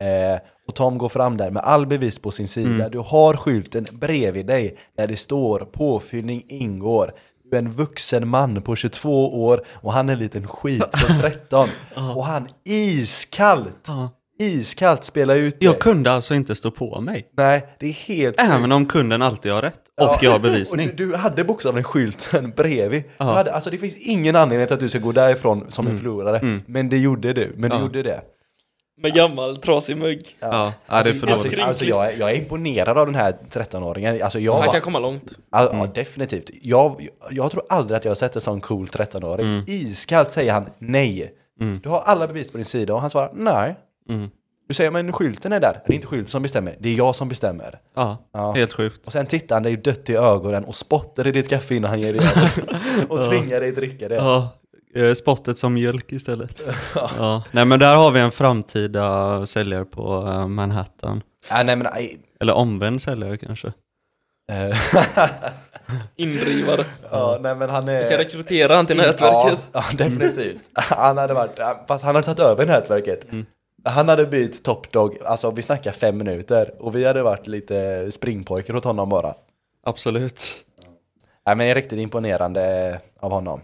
Eh, och Tom går fram där med all bevis på sin sida. Mm. Du har skylten bredvid dig där det står påfyllning ingår. Du är en vuxen man på 22 år och han är en liten skit på 13. och han iskallt, Ja. iskallt spelar ut dig. Jag kunde alltså inte stå på mig. Nej, det är helt Även om kunden alltid har rätt. Och Ja. jag har och bevisning. du, du hade bokstavligen skylten bredvid. Du Ja. Mm. hade, alltså det finns ingen anledning till att du ska gå därifrån som en förlorare. Men det gjorde du. Men du Ja. gjorde det. Med gammal trasig mugg. Ja, ja det är för alltså, dåligt. alltså jag, är, jag är imponerad av den här 13-åringen. Alltså jag Han var, kan komma långt. alltså, Mm. ja, definitivt. Jag, jag tror aldrig att jag har sett en sån cool 13-åring. Mm. Iskallt säger han nej. Du har alla bevis på din sida och han svarar nej. Mm. Du säger men skylten är där. Det är inte skylten som bestämmer, det är jag som bestämmer. Ja. Ja, helt sjukt. Och sen tittar han dig dött i ögonen och spottar i ditt kaffe innan han ger dig det. Och tvingar dig dricka det. Ja, eh, spottet som mjölk istället. ja. Nej men där har vi en framtida säljare på eh, Manhattan. Ja, nej men... aj. Eller omvänd säljare kanske. Eh, Indrivare. ja, nej men han är... Kan rekrytera han till nätverket. Eh. Ja, ja definitivt. Han hade varit, fast han hade tagit över nätverket. Han hade blivit toppdog, alltså vi snackar fem minuter och vi hade varit lite springpojkar åt honom bara. Absolut. Nej, men det är riktigt imponerande eh, av honom.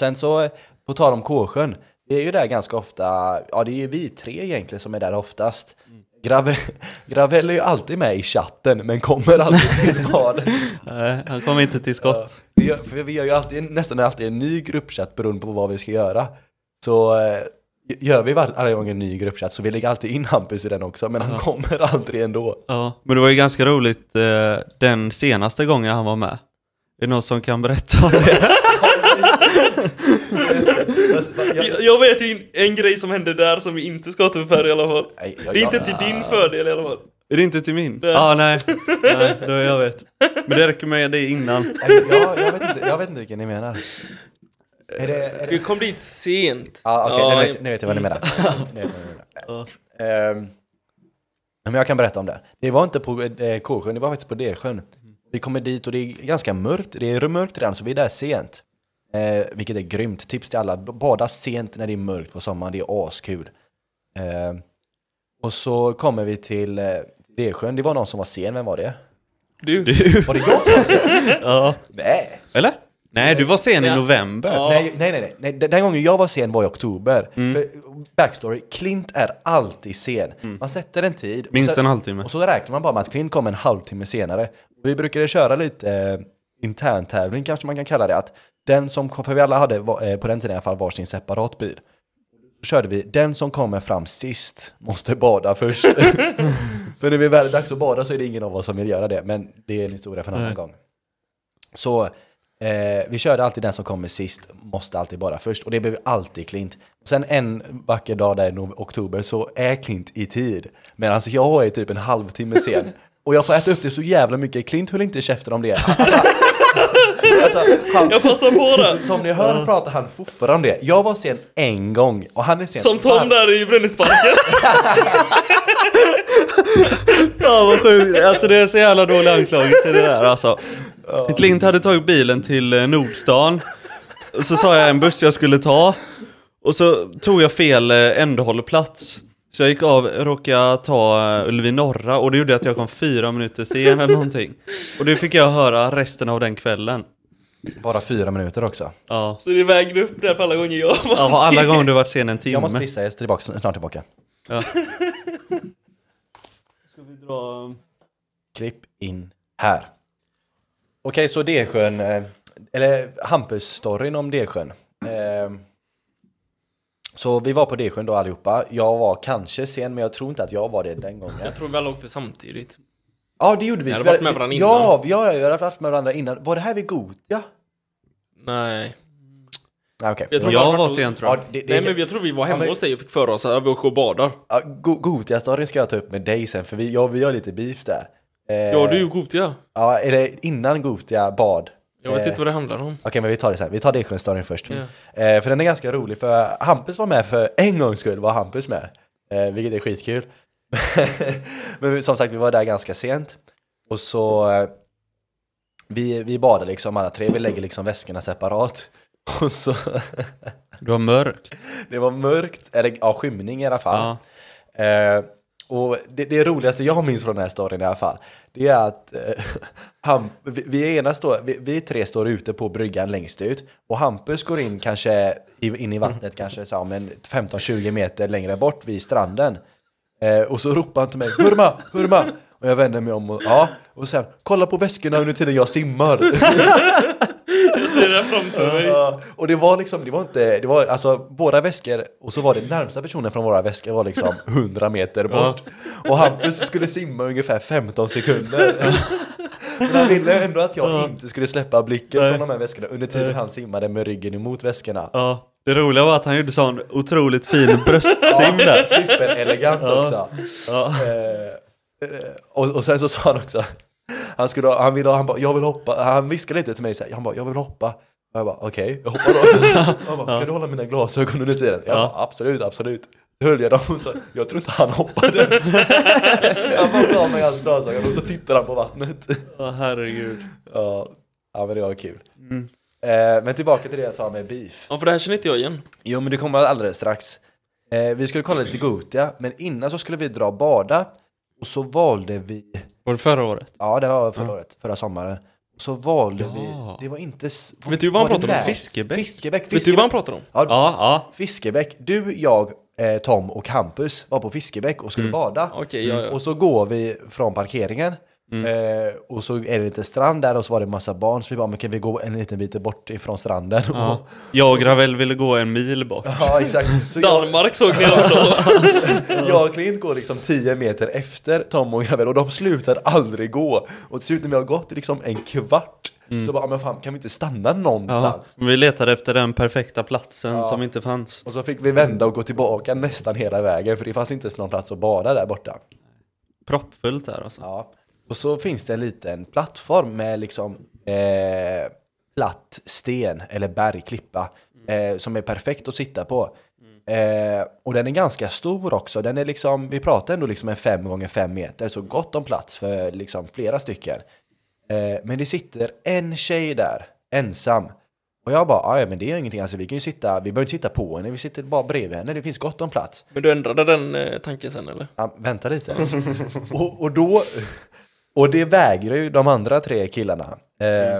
Sen så, eh, på tal om Kåsjön, vi är ju där ganska ofta, ja det är ju vi tre egentligen som är där oftast. Grave, Gravell är ju alltid med i chatten men kommer aldrig till vad. Nej, han kom inte till skott. Vi gör, för vi gör ju alltid, nästan alltid en ny gruppchatt beroende på vad vi ska göra. Så eh, gör vi var- varje gång en ny gruppchatt så vi lägger alltid in Hampus i den också men han kommer aldrig ändå. Ja, men det var ju ganska roligt eh, den senaste gången han var med. Är det någon som kan berätta om det? Jag, jag vet ju en, en grej som hände där som vi inte ska återföra i alla fall. Nej, Ah. Det är inte till din fördel i alla fall. Är det inte till min? Ja, ah, nej. nej då jag vet. Men det räcker med det innan. Nej, jag, jag, vet inte, jag vet inte vilken ni menar. Är det, är det... Eh, Du kom dit sent. Ja, Ah, okej, Ja, nu, vet, nu vet jag vad ni menar. Nu vet jag vad ni menar. Ehm, men jag kan berätta om det. Det var inte på eh, K-sjön, det var faktiskt på D-sjön. Vi kommer dit och det är ganska mörkt. Det är mörkt redan, så vi är där sent. Eh, vilket är grymt. Tips till alla. Bada sent när det är mörkt på sommaren. Det är askul. Eh, och så kommer vi till eh, D-sjön. Det var någon som var sen. Vem var det? du. Du, Var det jag som var sen? ja. Nej. Eller? Nej, du var sen i Ja. november. Ja. Nej, nej, nej, nej. nej. Den den gången jag var sen var i oktober. Mm. För, backstory, Clint är alltid sen. Man sätter en tid. och Mm. Minst sen- en halvtimme. Och så räknar man bara med att Clint kommer en halvtimme senare. Och vi brukade köra lite eh, interntävling kanske man kan kalla det. Att den som kom, för vi alla hade va- eh, på den tiden i alla fall varsin separat bil. Då körde vi, den som kommer fram sist måste bada först. för när vi väl är dags att bada så är det ingen av oss som vill göra det. Men det är en historia för en annan Nej. gång. Så eh, vi körde alltid den som kommer sist, måste alltid bara först. Och det blev alltid Klint. Sen en vacker dag där i nov- oktober så är Klint i tid. Medan jag är typ en halvtimme sen. Och jag får äta upp det så jävla mycket. Klint höll inte käften om det. Alltså, alltså, han, Jag passar på det. som ni hör pratar han fortfarande om det. Jag var sen en gång och han är sen Som Tom där i Brunnisparken. Ja vad sjukt, alltså det är så jävla dålig anklagelse det där alltså. Klint hade tagit bilen till eh, Nordstan, och så sa jag en buss jag skulle ta, och så tog jag fel eh, ändhållplats. Så jag gick av, råkade ta eh, Ullevi norra och det gjorde att jag kom fyra minuter sen eller någonting. Och det fick jag höra resten av den kvällen. Bara fyra minuter också. Ja, Så det vägde upp där för alla gånger jag var ja alla sen. gånger du varit sen en timme. Jag måste pissa, jag är tillbaka, snart tillbaka. Ska vi dra... um, Klipp in här. Okej, så Delsjön, eh, eller Hampus-storyn om Delsjön. Eh, Så vi var på Delsjön då allihopa. Jag var kanske sen, men jag tror inte att jag var det den gången. Jag tror vi alla åkte samtidigt. Ja, det gjorde vi. Vi hade för- varit med varandra innan. Ja, vi har- vi har varit med varandra innan. Var det här vid Gotia? Nej. Nej, okej. Jag tror- Jag var sen tror Ja, jag. det, det, Nej men jag tror vi var hemma Ja, men- hos dig och fick för oss att vi åker och badar. Ja, Go- Gotia-storyn ska jag ta upp med dig sen, för vi, ja, vi har lite beef där. Eh, Ja du är ju Gothia. Ja, eller innan Gotia bad. Jag vet Eh, inte vad det handlar om. Okej, men vi tar det sen. Vi tar Delsjön-storyn först. Eh, för den är ganska rolig, för Hampus var med för en gångs skull, var Hampus med. Eh, vilket är skitkul. men vi- som sagt, vi var där ganska sent. Och så, eh, vi, vi badar liksom alla tre, vi lägger liksom väskorna separat. Och så, Du var mörkt. det var mörkt, eller ja, skymning i alla fall. Ja. Eh, och det, det roligaste jag minns från den här storyn i alla fall, det är att eh, han, vi, vi, ena står, vi, vi tre står ute på bryggan längst ut och Hampus går in kanske i- in i vattnet kanske så, här, men 15-20 meter längre bort vid stranden. Eh, och så ropar han till mig, Hurma, Hurma! Och jag vänder mig om och ja, och sen kolla på väskorna under tiden jag simmar. Jag ser det här framför mig. Ja, och Alltså, det var liksom, det var inte, det var alltså våra väskor och så var det närmsta personen från våra väskor var liksom 100 meter bort. Och Hampus skulle simma ungefär 15 sekunder. Men han ville ändå att jag inte skulle släppa blicken Nej. från de här väskorna under tiden han simmade med ryggen emot väskorna. Ja, det roliga var att han gjorde sån otroligt fin bröstsim där. Superelegant Ja. också. Ja. Eh, eh, och, och sen så sa han också, han, skulle, ha- han, ville, ha- han, bara, jag vill hoppa. han viskade lite till mig så här, han bara, jag vill hoppa. Och jag bara, okej, jag hoppar då. Han bara, kan du hålla mina glasögon under tiden? Jag Ja. bara, absolut, absolut. Så höll jag dem och så, jag tror inte han hoppade. han bara gav mig hans glasögon och så tittade han på vattnet. Åh herregud. Ja, ja men det var kul. Mm. Eh, men tillbaka till det jag sa med beef. Ja för det här känner inte jag igen. Jo, men det kommer alldeles strax. Eh, vi skulle kolla lite Gotia, men innan så skulle vi dra och bada. Och så valde vi, Var det förra året? ja det var förra året, förra sommaren. så valde Ja. vi, det var inte... s- Vet du vad han var det pratade Läs? om? Fiskebäck? Fiskebäck. Vet du Fiskebäck. vad han pratar om? Ja, Ja, ja. Fiskebäck. Du, jag, eh, Tom och Hampus var på Fiskebäck och skulle bada. Mm. Okej, ja, Mm. ja. Mm. Och så går vi från parkeringen. Eh, och så är det lite strand där och så var det en massa barn. Så vi bara, men kan vi gå en liten bit bort ifrån stranden? Ja, och, Jag och Gravel ville gå en mil bort. ja exakt. Så jag, Danmark såg ni också. jag och Clint går liksom 10 meter efter Tom och Gravel och de slutar aldrig gå. Och till slut när vi har gått i liksom en kvart så bara, men fan kan vi inte stanna Ja. någonstans? Vi letade efter den perfekta platsen som inte fanns. Och så fick vi vända och gå tillbaka nästan hela vägen för det fanns inte ens någon plats att bada där borta. Proppfullt där alltså. Ja. Och så finns det en liten plattform med liksom eh, platt sten eller bergklippa eh, som är perfekt att sitta på. Eh, och den är ganska stor också. Den är liksom, vi pratar ändå liksom en 5 gånger 5 meter, så gott om plats för liksom flera stycken. Eh, men det sitter en tjej där, ensam. Och jag bara, "Ah, ja men det är ingenting, alltså vi kan ju sitta, vi behöver inte sitta på henne, vi sitter bara bredvid henne, det finns gott om plats. Men du ändrade den eh, tanken sen eller? Ja, vänta lite. och, och då... Och det vägrar ju de andra tre killarna. Eh,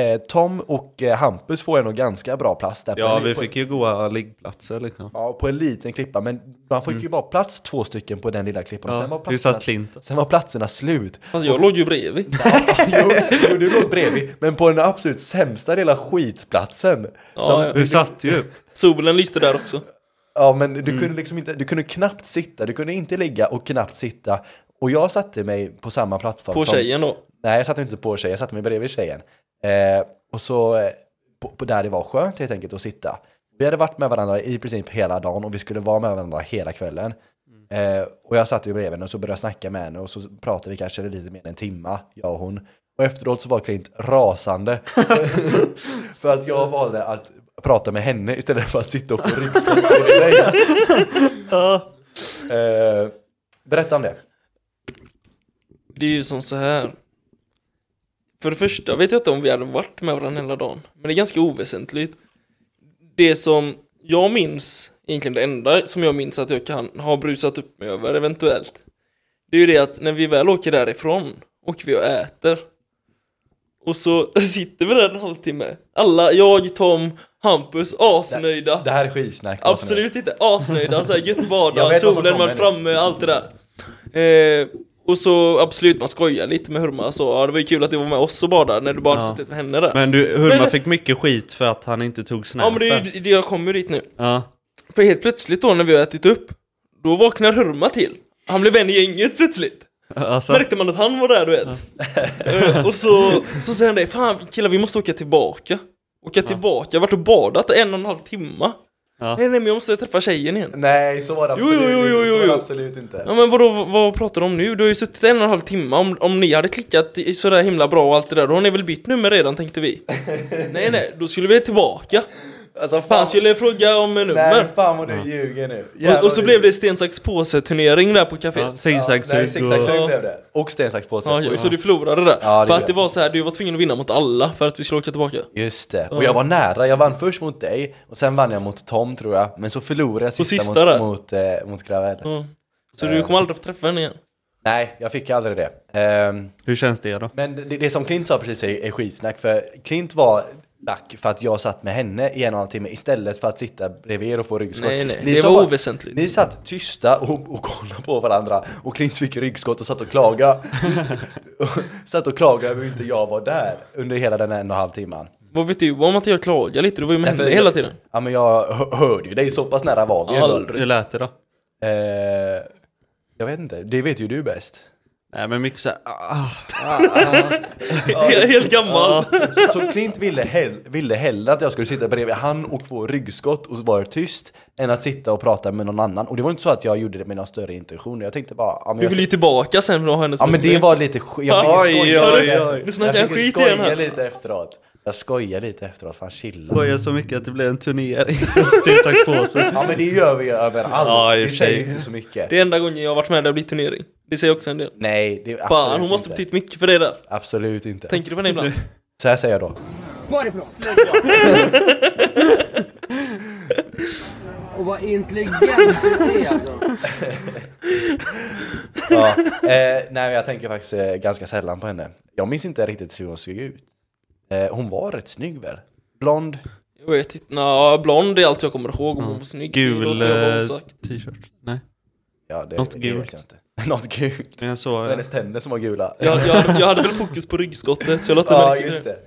eh, Tom och eh, Hampus får ändå ganska bra plats där. Ja, en, vi på, fick ju goa liggplatser liksom. ja, på en liten klippa, men man fick ju bara plats två stycken på den lilla klippan. sen, var Ja, du platserna, satt Clint. sen var platserna slut. Fast jag låg ju bredvid. jo, jo, du låg bredvid, men på den absolut sämsta lilla skitplatsen. Ja, ja. Du satt ju. Solen lyste där också. Ja, men du kunde liksom inte, du kunde knappt sitta, du kunde inte ligga och knappt sitta. Och jag satte mig på samma plattform På som, tjejen då. Nej, jag satte mig inte på tjejen, jag satte mig bredvid tjejen. Eh, och så, eh, på, på där det var skönt helt enkelt att sitta. Vi hade varit med varandra i princip hela dagen och vi skulle vara med varandra hela kvällen. Eh, och jag satt ju bredvid henne och så började jag snacka med henne och så pratade vi kanske lite mer än en timma, jag och hon. Och efteråt så var Clint rasande. för att jag valde att prata med henne istället för att sitta och få ryggskott med dig. Eh, berätta om det. Det är ju som så här. För det första vet jag inte om vi hade varit med varandra hela dagen. Men det är ganska oväsentligt. Det som jag minns, egentligen det enda som jag minns att jag kan ha brusat upp mig över eventuellt. Det är ju det att när vi väl åker därifrån, åker vi och äter. Och så sitter vi där en halvtimme. Alla, jag, Tom, Hampus, asnöjda. Det här är skitsnack. Absolut inte asnöjda, såhär gött Jag vardag, vet vad som solen var kommer. framme, allt det där. Eh, och så absolut, man skojar lite med Hurma så, ja det var ju kul att du var med oss och badade när du bara Ja. suttit med henne där. Men du, Hurma Men- fick mycket skit för att han inte tog ja snäppen. men det är ju det jag kommer ju dit nu. Ja. För helt plötsligt då när vi har ätit upp, då vaknar Hurma till. Han blev vän i gänget plötsligt. Alltså, Märkte man att han var där du vet. Eh, och så, så säger han det, fan killar vi måste åka tillbaka. Åka tillbaka, jag har varit och badat en och en halv timme. Ja. Nej nej men jag måste träffa tjejen igen. Nej, så var det Jo, absolut, jo, inte. jo, jo, så var jo. det absolut inte. Ja men vadå, vad- vad pratar du om nu? Du har ju suttit en och en halv timme, om, om ni hade klickat i- sådär himla bra och allt det där, då har ni väl bytt nummer redan tänkte vi? nej nej, då skulle vi tillbaka. Alltså, Fan skulle jag fråga om nummer. Nej, fan vad du ljuger nu. Jävlar och, och så vad du- blev det sten, sax, påse turnering där på caféet. ja, Ja. Nej, zigzagsug och... zigzagsug Ja. blev det. Och sten, sax, påse. ja, så du förlorade där. Ja, det för att gör det jag. var så här, du var tvungen att vinna mot alla för att vi skulle åka tillbaka. Just det. Och jag var nära. Jag vann först mot dig och sen vann jag mot Tom tror jag. Men så förlorade jag sista, sista där. mot, mot, eh, mot Gravel. Ja. Så du kommer aldrig få träffa henne igen. Nej, jag fick aldrig det. Ehm, Hur känns det då? men det, det som Clint sa precis är, är skitsnack. För Clint var lack för att jag satt med henne i en och en halv timme istället för att sitta bredvid er och få ryggskott. Nej, nej, Ni det sa var bara- oväsentligt. Ni satt tysta och, och kollade på varandra och Clint fick ryggskott och satt och klagade. Och satt och klagade över hur inte jag var där under hela den en och en halv timman. Vad vet du om att jag klagar lite? Du var ju med henne Mm, hela tiden. Ja men jag hö- hörde ju dig, så pass nära var vi ändå. Aldrig. Hur lät det då? eh, Jag vet inte, det vet ju du bäst. Nej men mycket såhär... Ah, Helt gammal. Så, så Clint ville, hell, ville hellre att jag skulle sitta bredvid han och få ryggskott och vara tyst än att sitta och prata med någon annan. Och det var inte så att jag gjorde det med någon större intention. Jag tänkte bara... Ja men, Du jag vill ju tillbaka sen för att ha hennes Ja men det nummer. var lite sk- jag fick ju Oj, skoja oj, lite oj. efter- Nu snackar Jag jag fick ju skit igen skoja här. lite efteråt. Jag skojar lite efteråt, fan chilla. skojar så mycket att det blev en turnering. Sten, sax, påse. Ja men det gör vi ju överallt. Ja, i och det för sig. säger ju inte så mycket. Det är enda gången jag har varit med där det blir turnering. Det säger också en del. Nej, det är absolut Fan, hon måste inte. betytt mycket för dig där. Absolut inte. Tänker du på det ibland? Så här säger jag då. Vad är det för något? och vad intelligent du är alltså. Ja. Eh, nej, men jag tänker faktiskt eh, ganska sällan på henne. Jag minns inte riktigt hur hon såg ut. Eh, hon var rätt snygg väl? Blond. Jag vet inte, Nå, blond är allt jag kommer ihåg om hon var snygg. det Gul låter jag vara eh, osagt. t-shirt. Nej, Ja, det, Något det gult. Vet jag inte. Något gult. men jag såg... Det var hennes tänder som var gula. Jag, jag, hade- jag hade väl fokus på ryggskottet, så jag lade Ja, märke just till det. det.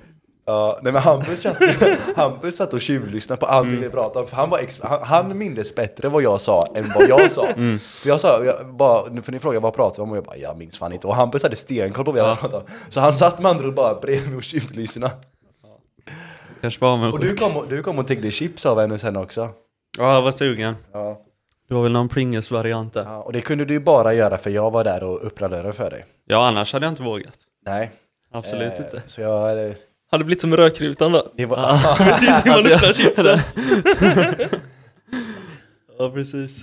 Ja, nej men Hampus satt, Hampus satt och tjuvlyssnade på allting vi pratade om. För han, var ex, han, han mindes bättre vad jag sa än vad jag sa. För jag sa, jag bara, för ni frågade vad pratade vi om och jag bara, jag minns fan inte. Och Hampus hade stenkoll på vad jag pratade om. Så han satt med andra ord bara bredvid och tjuvlyssnade. Kanske var Och avundsjuk. du kom, och- du kom och tiggde chips av henne sen också. Ja, jag var sugen. Ja. Det var väl någon Pringles-variant där. Ja, och det kunde du ju bara göra för jag var där och öppnade dörren för dig. Ja, annars hade jag inte vågat. Nej. Absolut eh, inte. Så jag... eh, Hade blivit som i rökrutan då. Det var, Det var öppnar chipsen. Ja, precis.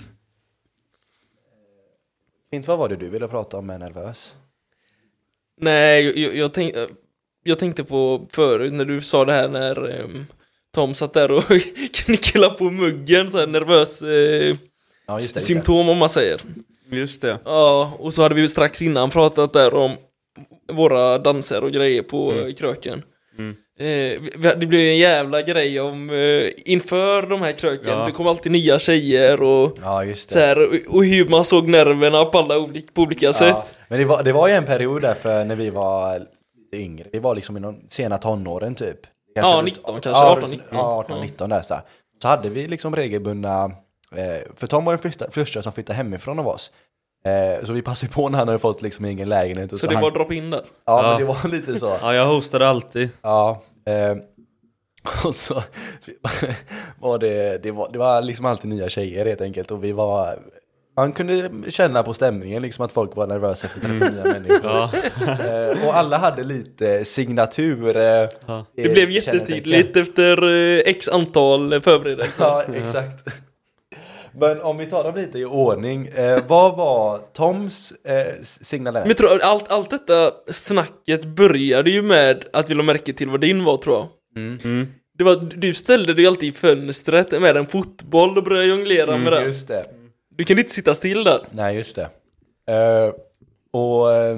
Fint, vad var det du ville prata om med nervös? Nej, jag, jag, jag, tänk, jag tänkte på förut när du sa det här när ehm, Tom satt där och knicklade på muggen, så här nervös eh, Ja, just det, just det. symptom om man säger. Just det. Ja, och så hade vi ju strax innan pratat där om våra danser och grejer på eh, kröken. Mm. Eh, vi- vi- det blev ju en jävla grej om eh, inför de här kröken, Ja. det kom alltid nya tjejer och Ja, just så det. här, och- och hur man såg nerverna på, alla olika, på olika Ja, sätt. men det var, det var ju en period där för när vi var yngre, vi var liksom i de sena tonåren typ. Ja, 19 kanske, Mm. 18, runt- 19. Ja, 18, 19 där så. här. Så hade vi liksom regelbundna, eh, för Tom var den första, första som flyttade hemifrån av oss. Eh, Så vi passade på när han hade fått liksom egen lägenhet. Och Så det han, var att droppa in där. ja, men Ja. det var lite så. Ja, jag hostade alltid. Ja. Eh, och så var det, det var, det var liksom alltid nya tjejer helt enkelt. Och vi var, man kunde känna på stämningen liksom att folk var nervösa efter att träffa Mm. nya människor. Ja. Eh, och alla hade lite signatur. Eh, Ja. Det blev eh, jättetydligt kännetecken. efter eh, x antal förberedelser. Ja, exakt. Men om vi tar dem lite i ordning. Eh, vad var Toms eh, signalement? Men jag tror, allt, allt detta snacket började ju med att vi la märke till vad din var tror jag. Mm. Det var, du ställde dig alltid i fönstret med en fotboll och började jonglera Mm, med den. Just det. Du kunde inte sitta still där. Nej, just det. Eh, och... Eh,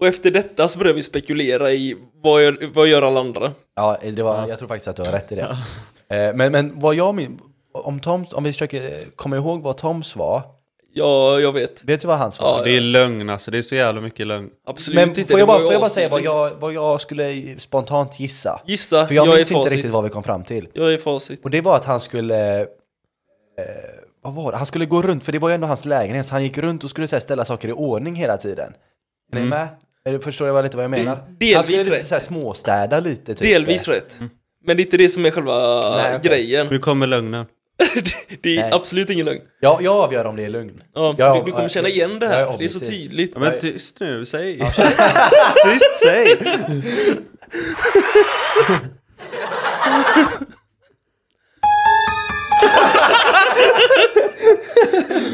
Och efter detta så började vi spekulera i vad gör, vad gör alla andra? Ja, det var, jag tror faktiskt att du har rätt i det. Eh, Men, men vad jag min, om, Toms, om vi försöker eh, komma ihåg vad Toms var, Ja, jag vet. vet du vad hans var? Ja, Det är lögn alltså, det är så jävla mycket lögn. Absolut men inte. får det jag, bara, var ju får jag bara asfel. säga vad jag, vad jag skulle spontant gissa? Gissa, För jag, jag är minns inte facit. riktigt vad Typ, vi kom fram till. Jag är facit. Och det var att han skulle... Eh, vad var det? Han skulle gå runt, för det var ju ändå hans lägenhet, så han gick runt och skulle så här, ställa saker i ordning hela tiden. Är ni med? Är det- Förstår jag lite vad jag menar? Mm. delvis han skulle lite rätt. så här, småstäda lite. Typ. Delvis rätt. Men det är inte det som är själva Nej, okej. grejen. Nu kommer lögnen. Det- det är Nej. absolut ingen lögn. Ja, jag avgör om det är lugn. Ja, Jag- du, du kommer känna igen det här, jag är det är så objektiv. tydligt. Ja, men tyst nu, säg! tyst, säg!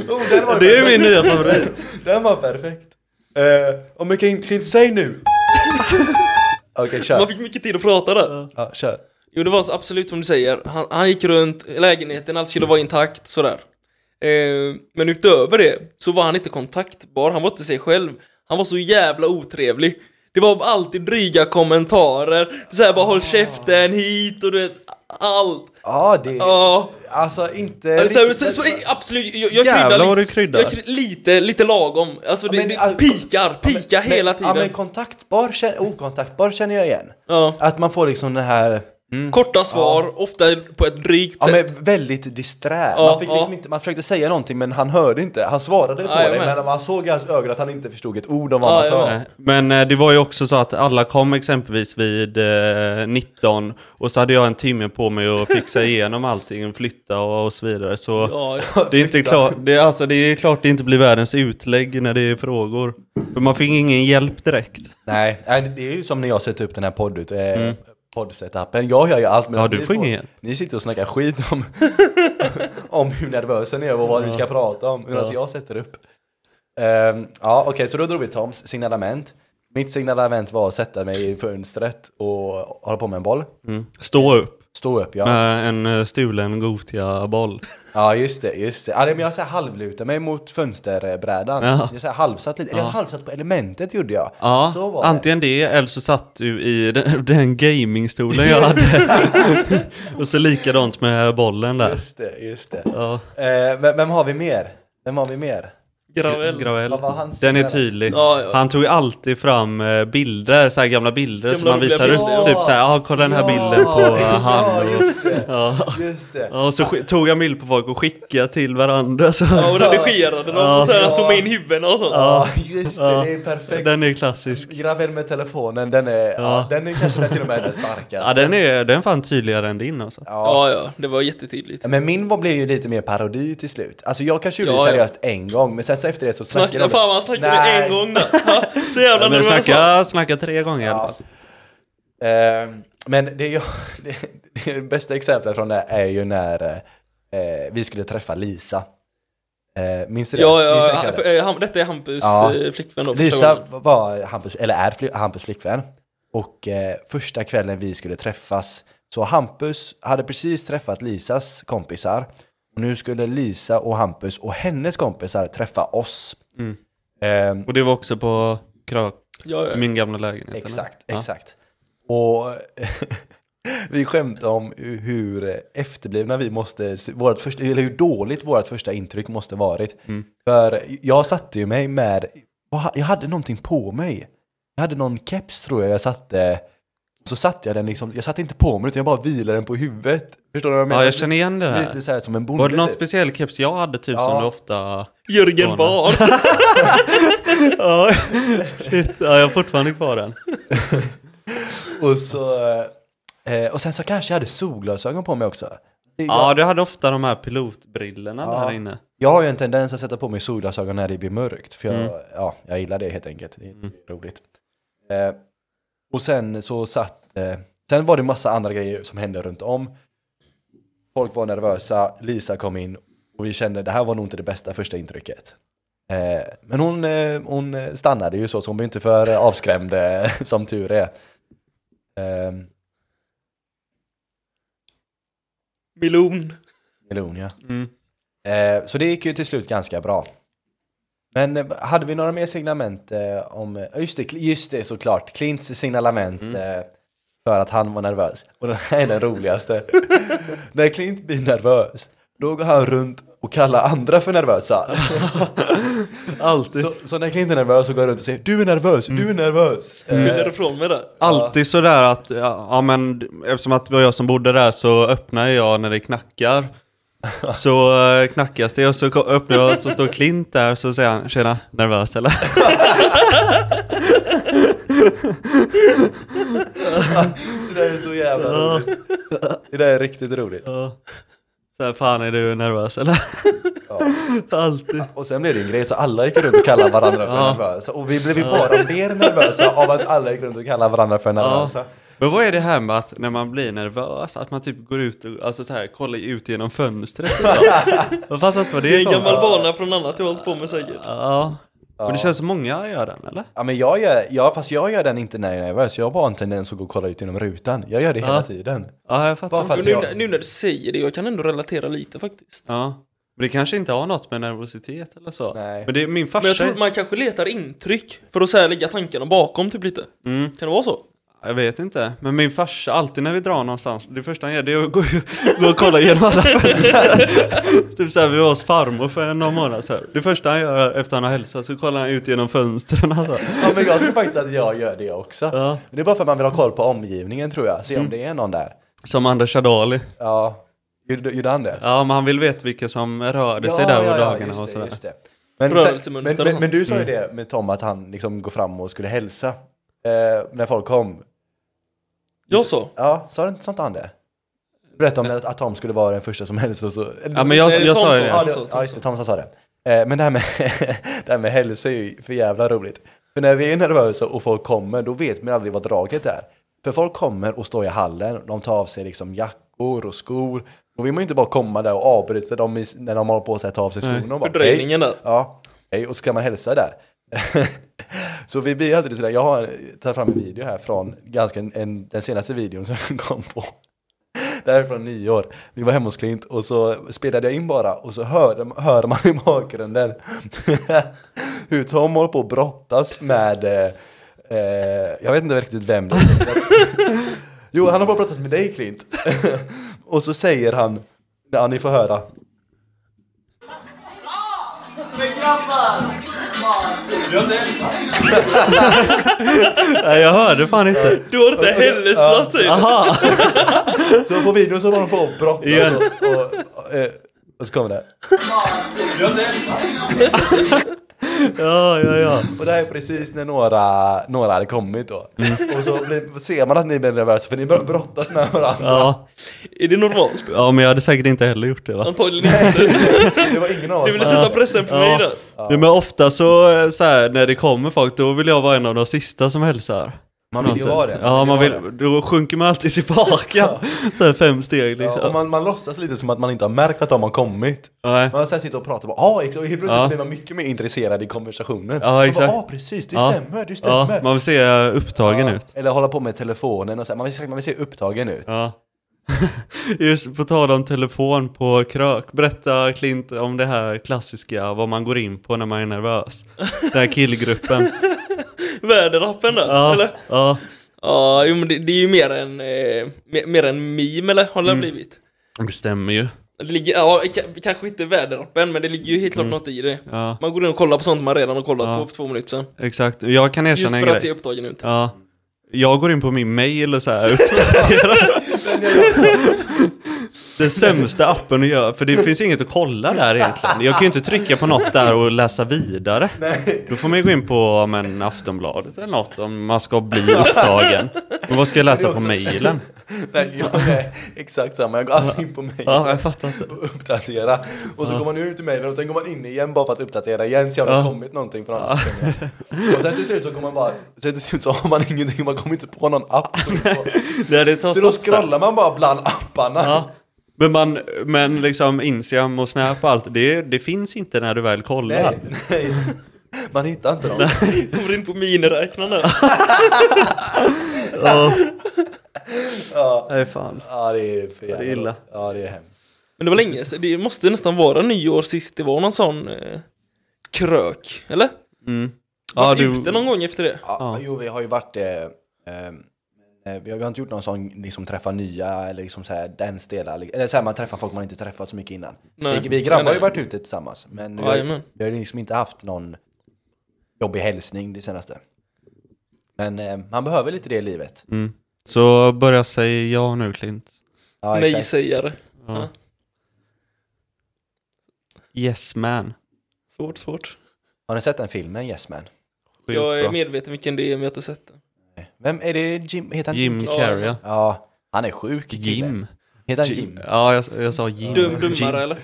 Oh, den var Det är min nya favorit. Den var perfekt. Uh, och mycket in, Clint, säg nu! Okej, kör. Man fick mycket tid att prata där. Ja, kör. Jo, det var så absolut som du säger. Han, han gick runt i lägenheten, allt skulle vara intakt, sådär. Eh, men utöver det så var han inte kontaktbar, han var inte sig själv. Han var så jävla otrevlig. Det var alltid dryga kommentarer, såhär bara Ah. håll käften hit och du vet, allt. Ja, det... Ja. Alltså inte... Så, riktigt- så, så, absolut, jag, jag Jävlar kryddar, vad lite- du kryddar. Jag kryddar lite, lite lagom. Alltså det, men, det all- pikar, Ja, men- pikar hela men- Ja, men tiden. kontaktbar, kän- okontaktbar känner jag igen. Ja. Att man får liksom den här... Mm, Korta svar, ofta på ett drygt ja, sätt. men väldigt disträ. Typ. Ja, man, fick liksom ja. inte, man försökte säga någonting men han hörde inte. Han svarade på Ja, jag dig med. men man såg i hans ögon att han inte förstod ett ord om vad Ja, man jag sa. med. Nej, Men eh, det var ju också så att alla kom exempelvis vid eh, 19 och så hade jag en timme på mig att fixa igenom allting, flytta och, och så vidare. Så Ja, det, är inte klart, det, är, alltså, det är klart det inte blir världens utlägg när det är frågor. För man fick ingen hjälp direkt. Nej, nej, det är ju som när jag sätter upp den här podd, eh, poddsetupen. Jag gör ju allt medan Mm. Ja, du ni får ingen hjälp. Ni sitter och snackar skit om, om hur nervösa ni är och vad ni ska prata om medan jag sätter upp. Ehm, ja, okej, så då drog vi Toms signalement. Mitt signalement var att sätta mig i fönstret och hålla på med en boll. Stå upp. Stå upp, ja. Med en eh, stulen Gothia-boll. Ja just det, just det. Ja, nej, men jag så här halvlutade mig mot fönsterbrädan. Ja. Jag så här halvsatt lite, eller Ja. halvsatt på elementet gjorde jag. Ja, så var det. antingen det eller så satt du i den, den gamingstolen jag hade. och så likadant med bollen där. Just det, just det. Ja. Eh, vem, vem har vi mer? Vem har vi mer? Gravel. Gravel. Vad var hans Den är där? tydlig. Ja, ja. Han tog ju alltid fram eh, bilder, så här gamla bilder som Gamla han visar roliga upp. bilder, ja. Typ så här, ah, kolla den här Ja, bilden på eh, Ja, han. Och, just det. ja. Just det. Ja, och så sk- tog jag bild på folk och skickade till varandra. Så. Ja, och redigerade dem och sen Ja. zoomade in huvudena och sånt. Ja, just det. Ja. Det är perfekt. Den är klassisk. Gravel med telefonen, den är, ja. den är kanske den till och med den starkaste. Ja, den är, den är fan tydligare än din alltså. Ja. Ja, ja, det var jättetydligt. Men min var blev ju lite mer parodi till slut. Alltså jag kanske gjorde Ja, det ja. seriöst en gång, men sen så efter det så snackade Snacka, fan vad han snackade Nej. en gång där. Ja, Så jävla Men alltså- nervös. var snacka, han. snacka tre gånger i alla fall. Ehm, men det, jag, det, det bästa exemplet från det är ju när eh, eh, vi skulle träffa Lisa. Eh, minns du det? Ja, minns du ja, det, Kalle? han, eh, han, detta är Hampus Ja. eh, flickvän då första Lisa gången. var Hampus, eller är fli- Hampus flickvän. Och eh, första kvällen vi skulle träffas, så Hampus hade precis träffat Lisas kompisar. Och nu skulle Lisa och Hampus och hennes kompisar träffa oss. Mm. Ehm, Och det var också på Krak, Ja, ja. min gamla lägenhet. eller? Eh, Exakt, Ja. exakt. Och vi skämtade om hur efterblivna vi måste, vårt första, eller hur dåligt vårt första intryck måste varit. Mm. För jag satte ju mig med, vad ha- jag hade någonting på mig. Jag hade någon keps tror jag jag satte, så satte jag den liksom, jag satte inte på mig utan jag bara vilade den på huvudet. Förstår du vad jag menar? Ja, jag känner igen det här. Lite så här som en bonde. Var det någon typ. speciell keps jag hade typ Ja. som du ofta... Jörgen Bard. Ja, shit. Ja, jag har fortfarande kvar den. och, så, eh, och sen så kanske jag hade solglasögon på mig också. Det- Ja, du hade ofta de här pilotbrillorna Ja. där inne. Jag har ju en tendens att sätta på mig solglasögon när det blir mörkt, för jag, ja, jag gillar det helt enkelt. Det är roligt. Eh, och sen så satt, eh, sen var det massa andra grejer som hände runt om. Folk var nervösa, Lisa kom in och vi kände det här var nog inte det bästa första intrycket. Eh, men hon, eh, hon stannade ju så, så hon blev inte för eh, avskrämd, eh, som tur är. Eh, Milon. Melonia. Mm. Eh, så det gick ju till slut ganska bra. Men eh, hade vi några mer signalement eh, om... eh, Just det, Cl- just det såklart. Klints signalement eh, för att han var nervös. Och den här är den roligaste. När Klint blir nervös, då går han runt och kallar andra för nervösa. Alltid, så, så när Klint är nervös så går han runt och säger du är nervös, du är nervös. Eh, Minner ifrån mig där. alltid sådär att, ja, ja men d- eftersom att det var jag som bodde där så öppnar jag när det knackar. Så eh, knackas det och så ko- öppnar jag och så står Klint där så säger han Tjena, nervös eller? det där är så jävla roligt. Det där är riktigt roligt. Ja. Så här, fan är du nervös eller? Ja. Alltid. Och sen blev det en grej så alla gick runt och kallade varandra för Ja. nervösa. Och vi blev ju bara mer nervösa av att alla gick runt och kallade varandra för nervösa. Men vad är det här med att när man blir nervös, att man typ går ut och alltså så här, kollar ut genom fönstret? och så? Jag fattar inte vad det Det är. är en för något. gammal vana från annat jag hållit på med säkert. Ja. Men det känns som många gör den eller? Ja men jag gör, ja, fast jag gör den inte när jag är nervös, jag har bara en tendens att gå och kolla ut genom rutan. Jag gör det hela Ja. tiden. Ja, jag fattar. Bara för Och att nu, jag, nu när du säger det, jag kan ändå relatera lite faktiskt. Ja. Men det kanske inte har något med nervositet eller så. Nej. Men det är min farsa. Men jag tror att man kanske letar intryck för att så här lägga tankarna bakom typ lite. Mm, Kan det vara så? jag vet inte. Men min farsa, alltid när vi drar någonstans, det första han gör det är att gå, gå och kolla genom alla fönster. typ såhär, vi var hos farmor för några månader sedan. Det första han gör efter han har hälsat så kollar han ut genom fönstren. Alltså. ja, men jag tror faktiskt att jag gör det också. Ja. Mm. Men Det är bara för att man vill ha koll på omgivningen tror jag, se om det är någon där. Som Anders Adali. Ja, gjorde, gjorde han det? Ja, men han vill veta vilka som rörde sig där på dagarna just och det, sådär. Mm. just det. Men, sen, men, Rörelsemönster och men, sånt. men du sa ju det med Tom att han liksom går fram och skulle hälsa eh, när folk kom. Jag sa. Ja, sa du inte sånt han det? Berätta om att, att Tom skulle vara den första som helst och så... Ja, men jag, Alltså, Nej, jag sa ju Ja, Thomson. det. det, Thomson, ja just det, Thomson sa det. Eh, Men det här med, det här med hälsa är ju för jävla roligt. För när vi är nervösa och folk kommer, då vet man aldrig vad draget är. För folk kommer och står i hallen, de tar av sig liksom jackor och skor. Och vi må inte bara komma där och avbryta dem i, när de håller på att så här ta av sig skorna. och bara, "Hej." Fördröjningen där. Ja, hej, och så kan man hälsa där. så vi blir alltid sådär, jag har tagit fram en video här från ganska en, den senaste videon som jag kom på. Det här är från nyår. Vi var hemma hos Klint och så spelade jag in bara och så hörde, hör man i bakgrunden hur Tom håller på att brottas med, eh, eh, jag vet inte riktigt vem det är. Jo, han har bara pratat med dig Klint. och så säger han, ja ni får höra. Nej, jag hörde fan inte. Du har inte heller satt typ. Aha. Så på videon så håller han på att brottas Igen. och, och, och, eh, och så kommer det. Ja, ja, ja. Och det här är precis när några, några hade kommit då. Mm. Och så blir, ser man att ni blir nervösa för ni bör- brottas med varandra. Ja. Är det normalt? ja, men jag hade säkert inte heller gjort det va? Antagligen inte. Det var ingen av oss Du ville som sätta pressen på mig där. Ja. Men ofta så, eh, så här, när det kommer folk, då vill jag vara en av de sista som hälsar. Man vill ju vara det. Alltså, Ja, man vara vill, då sjunker man alltid tillbaka. Så här fem steg Ja, och liksom. man, man låtsas lite som att man inte har märkt att de har kommit. Nej. Man sen sitter och pratar och bara, ah, exakt." och helt plötsligt Ja. blir man mycket mer intresserad i konversationen. Ja, man exakt. bara, ah, precis, det Ja. stämmer, det stämmer. Ja, man vill se eh, upptagen Ja. ut. Eller hålla på med telefonen och så här, man, vill, man vill se upptagen ut. Ja. Just på tal om telefon på krök. Berätta Klint om det här klassiska, vad man går in på när man är nervös. Den här killgruppen. Väderappen där, Ja, eller? ja, Ja, jo, men det, det är ju mer en, eh, mer, mer en meme eller? Har det Mm. blivit? det stämmer ju. Det ligger, ja, ka- kanske inte väderappen, men det ligger ju helt klart något i det. Mm. Ja, Man går in och kollar på sånt man redan har kollat Ja. på för två minuter sedan. exakt. Jag kan Just erkänna en för att se grej. upptagen ut. Ja. Jag går in på min mail och så här uppdaterar. Den sämsta appen att göra, för det finns inget att kolla där egentligen. Jag kan ju inte trycka på något där och läsa vidare. Nej. Då får man ju gå in på om en Aftonbladet eller något om man ska bli upptagen. Men vad ska jag läsa på mejlen? Nej, jag är exakt samma, jag går alltid in på mig. Ja, jag fattar inte. och uppdatera. Och så går man ut i mejlen och sen går man in igen bara för att uppdatera igen så jag har Ja. kommit någonting på någon sekund. Och sen till slut så kommer man bara, sen till slut så har man ingenting, man kommer inte på någon app. Det, det tar Så då stopp där. scrollar man bara bland apparna. Ja. Men, man, men liksom Instagram och Snap och allt, det, det finns inte när du väl kollar. Nej, nej. Man hittar inte dem. Kommer in på miniräknaren där. Ja. Nej, fan. ja, det är för jävla. Det är illa. Ja, det är hemskt. Men det var länge sedan, det måste nästan vara nyår sist det var någon sån eh, krök, eller? Mm. Var Ja, du... du, ute någon gång efter det? Ja, Jo, vi har ju varit eh, ehm, eh, vi har vi har inte gjort någon sån, liksom träffa nya eller liksom så här, den stela, eller så här, man träffar folk man inte träffat så mycket innan. Nej. Vi, vi grabbar har Nej, ju nej. varit ute tillsammans, men vi, har, Jajamän. vi har ju liksom inte haft någon jobbig hälsning det senaste. Men eh, man behöver lite det i livet. mm. Så börja säga ja nu Klint. Ja, Nej exakt. sägare. Ja. Ja. Yes man. Svårt, svårt. Har ni sett den filmen Yes Man? Sjukt jag är bra. medveten vilken det är, men jag har inte sett den. Vem är det? Jim? Heter han Jim Jim? Ja, Carrey. ja. Ja, han är sjuk kille. Jim. Heter han Jim? Jim. Ja, jag, jag sa Jim. Dum, dummare Jim. eller?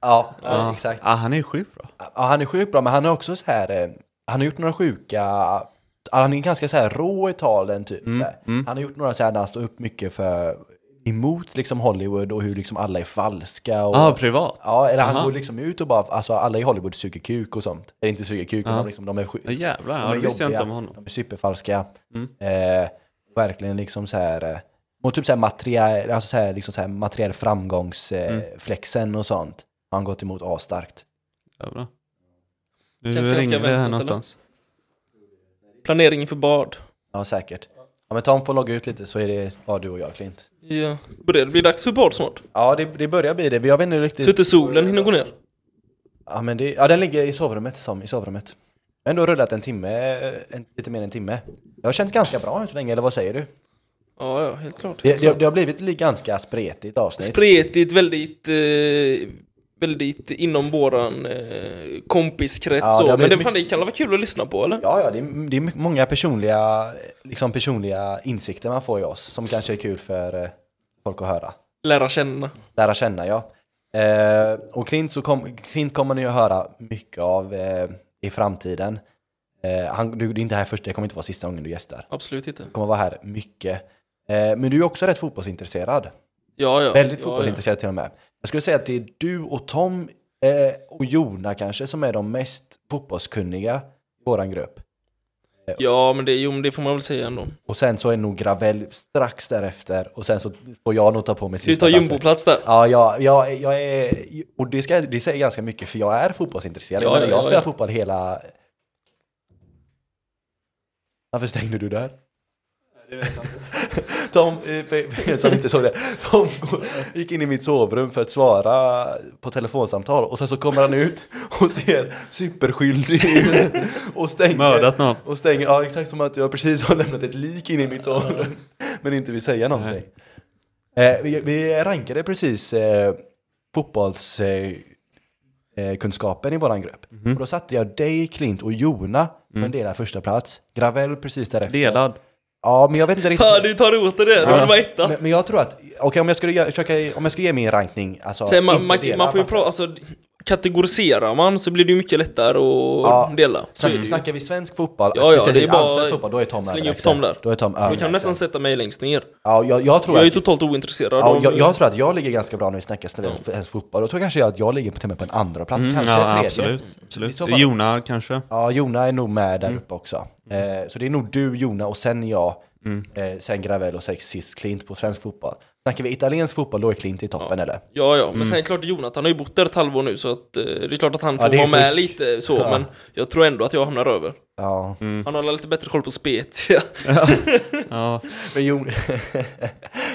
Ja, ja, Ja. exakt. Ja, han är sjukt bra. Ja, han är sjukt bra, men han är också så här, eh, han har gjort några sjuka, ja, han är ganska så här rå i talen typ. Mm, så här. Han har gjort några så här där han står upp mycket för, emot liksom Hollywood och hur liksom alla är falska. Och, Ja, ah, privat. Ja, eller han Aha. går liksom ut och bara, alltså alla i Hollywood suger kuk och sånt. Eller inte suger kuk, men de, liksom, de är sjuka. Ja, jävlar, ja, det visste jag inte om honom. De Mm. är superfalska. Eh, verkligen liksom så här, eh, och typ så här materiell, alltså så här, liksom så här materiell framgångsflexen eh, flexen och sånt. Har han gått emot asstarkt. Jävlar. Du Kanske jag ska ringde vänta här till någonstans. Planeringen för bad. Ja, säkert. Ja, men Tom får logga ut lite så är det bara du och jag, Klint. Ja. Börjar det bli dags för bad snart? Ja, det, det börjar bli det. Jag vet inte Så riktigt. inte solen hinner gå ner? Ja, men det, ja, den ligger i sovrummet, som, i sovrummet. Jag har ändå rullat en timme, eh, en, lite mer än en timme. Det har känts ganska bra än så länge, eller vad säger du? Ja, ja, helt klart. Det, det, det har blivit li- ganska spretigt avsnitt. Spretigt, väldigt... Eh, väldigt inom våran eh, kompiskrets Ja, så. det har Men det, blivit fan, det kan väl vara kul att lyssna på eller? ja, ja, det är, det är mycket- många personliga, liksom personliga insikter man får i oss som kanske är kul för eh, folk att höra. Lära känna. lära känna, ja. Eh, och Clint, så kom, Clint kommer ni att höra mycket av eh, i framtiden. Eh, han, du, det är inte här första, det kommer inte vara sista gången du gästar. Absolut inte. Du kommer vara här mycket. Eh, men du är också rätt fotbollsintresserad. Ja, ja. Väldigt ja, fotbollsintresserad till och med. Jag skulle säga att det är du och Tom eh, och Jona kanske som är de mest fotbollskunniga i våran grupp. Ja, men det, jo, men det får man väl säga ändå. Och sen så är nog Gravel strax därefter och sen så får jag nog ta på mig Du sista tar platsen. jumboplats där. Ja, jag, jag, jag är, och det, ska, det säger ganska mycket för jag är fotbollsintresserad. Ja, jag, menar, ja, jag ja, spelar ja. fotboll hela... Varför stängde du där? Tom, eh, för- för er som inte såg det, Tom går- gick in i mitt sovrum för att svara på telefonsamtal och sen så kommer han ut och ser superskyldig ut och stänger, Mördat någon. och stänger, ja exakt som att jag precis har lämnat ett lik in i mitt sovrum men inte vill säga någonting. Eh, vi, vi rankade precis eh, fotbollskunskapen eh, kunskapen i våran grupp. Mhm. Och då satte jag dig, Klint och Jona på en Mm. delad första plats. Gravel precis därefter. Delad. Ja, men jag vet inte riktigt. Fan, du tar åt dig det. Du vill vara etta. men, men jag tror att, okej om jag skulle göra- försöka, om jag ska ge min rankning, alltså Sen man, inte man, delad, man får ju alltså. prata, alltså, kategoriserar man så blir det ju mycket lättare att Ja. dela. Så är det Snack, ju. snackar vi svensk fotboll, Mm. Ja, ja, speciellt det är bara- allsvensk fotboll, då är Tom släng upp överlägsen. Tom där. Då är Tom Då kan överlägsen. du nästan sätta mig längst ner. Ja, jag, jag tror Jag är ju typ att... totalt ointresserad Ja, av... jag, jag tror att jag ligger ganska bra när vi snackar svensk svensk fotboll. Då tror jag kanske jag att jag ligger på, till och med på en andra plats Mm, kanske ja, tredje. absolut. Mm. I absolut. så fall- Jona kanske. Ja, Jona är nog med där uppe också. Mm. Eh, så det är nog du, Jona och sen jag. Eh, sen Gravel och sen sist Klint på svensk fotboll. Snackar vi italiensk fotboll, då är Klint i toppen eller? Ja, ja, men Mm. sen är det klart Jonathan har ju bott där ett halvår nu så att eh, det är klart att han får det är vara med fusk. lite så, men jag tror ändå att jag hamnar över. Ja. Mm. Han har lite bättre koll på spet. ja. Ja. Men Jon...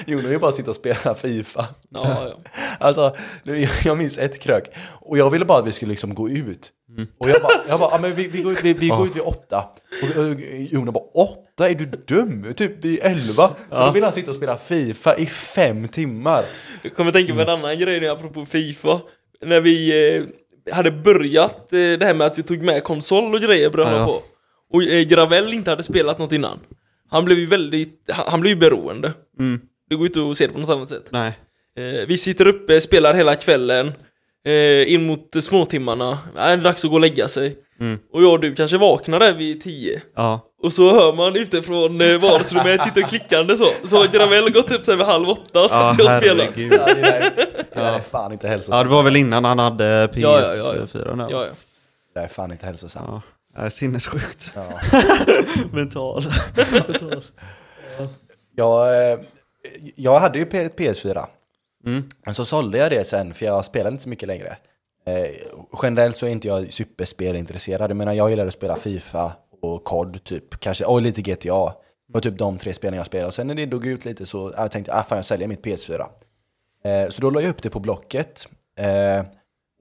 Jona vill bara sitta och spela Fifa. ja, ja. Alltså, nu- jag- jag minns ett krök. Och jag ville bara att vi skulle liksom gå ut. Mm. Och jag bara, jag bara ja, men vi, vi, går ut, vi, vi går ut vid åtta. Och, och Jona bara, åtta? Är du dum? Typ vid elva. Så då vill han sitta och spela Fifa i fem timmar. Jag kommer tänka på en Mm. annan grej nu apropå Fifa. När vi eh, hade börjat eh, det här med att vi tog med konsol och grejer började Ja, ja. på. Och eh, Gravel inte hade spelat något innan. Han blev ju väldigt, han, han blev ju beroende. Mm. Det går ju inte att se det på något annat sätt. Nej. Eh, vi sitter uppe, spelar hela kvällen. Eh, in mot eh, småtimmarna. Äh, det är dags att gå och lägga sig. Mm. Och jag och du kanske vaknar där vid tio. Ja. Och så hör man utifrån eh, vardagsrummet sitta och klickande så. Så har Gravel gått upp sig vid halv åtta och satt sig och spelat. herregud. Ja, det, där, det där är fan inte Ja, hälsosamt. det var väl innan han hade PS4 Ja, ja, ja, ja. där. Ja, ja. Det där är fan inte hälsosamt. Ja. Det är sinnessjukt. Ja. Mental. Jag, eh, jag hade ju P- ett PS4. Mm. Men så sålde jag det sen för jag spelade inte så mycket längre. Eh, generellt så är inte jag superspelintresserad. Jag menar jag gillar att spela Fifa och COD typ. Kanske, och lite GTA. Och typ de tre spelen jag spelar. Och sen när det dog ut lite så jag tänkte jag ah, fan jag säljer mitt PS4. Eh, så då la jag upp det på Blocket. Eh,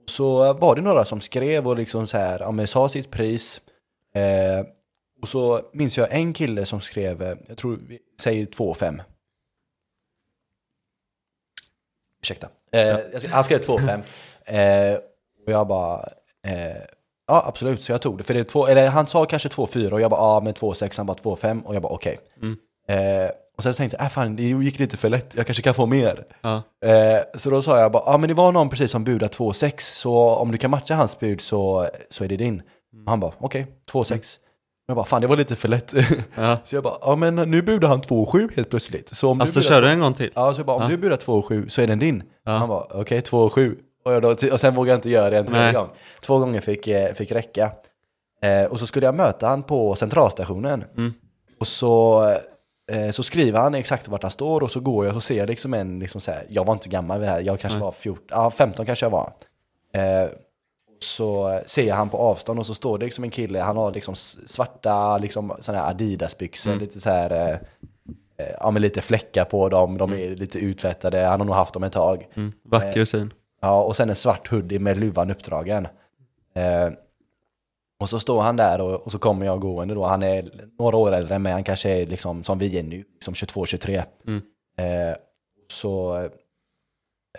så var det några som skrev och liksom så här, ja, men sa sitt pris. Eh, och så minns jag en kille som skrev, eh, jag tror vi säger 2 5. Ursäkta. Eh, jag ska- Han skrev 2 5. Eh, och jag bara, eh, ja absolut, så jag tog det. För det är två, eller han sa kanske 2 4 och jag bara, ja men 2 6, han bara 2 5 och jag bara okej. Eh, och sen tänkte jag, äh, fan det gick lite för lätt, jag kanske kan få mer. Ja. Eh, så då sa jag bara, ja ah, men det var någon precis som budade 2,6 så om du kan matcha hans bud så, så är det din. Mm. Och Han bara, okej, 2,6. Jag bara, fan det var lite för lätt. Ja. så jag bara, ja ah, men nu budar han 2,7 helt plötsligt. Så om Alltså du kör budar, du en gång till? Ja, så jag bara, om Ja. du budar 2,7 så är den din. Ja. Han bara, okej 2,7. Och, jag då- och sen vågade jag inte göra det en tredje Nej. gång. Två gånger fick, eh, fick räcka. Eh, och så skulle jag möta han på centralstationen. Mm. Och så, eh, så skriver han exakt vart han står och så går jag och så ser jag liksom en, liksom så här, jag var inte gammal vid det här, jag kanske Nej. var 14, ja 15 kanske jag var. Eh, så ser jag han på avstånd och så står det liksom en kille, han har liksom s- svarta liksom sådana här Adidas-byxor, Mm. lite så här, eh, eh, ja men lite fläckar på dem, de är lite utvättade, han har nog haft dem ett tag. Mm. Vacker syn. Ja, och sen en svart hoodie med luvan uppdragen. Eh, och så står han där och, och så kommer jag gående då. Han är några år äldre än mig, han kanske är liksom som vi är nu, liksom 22-23. Mm. Eh, så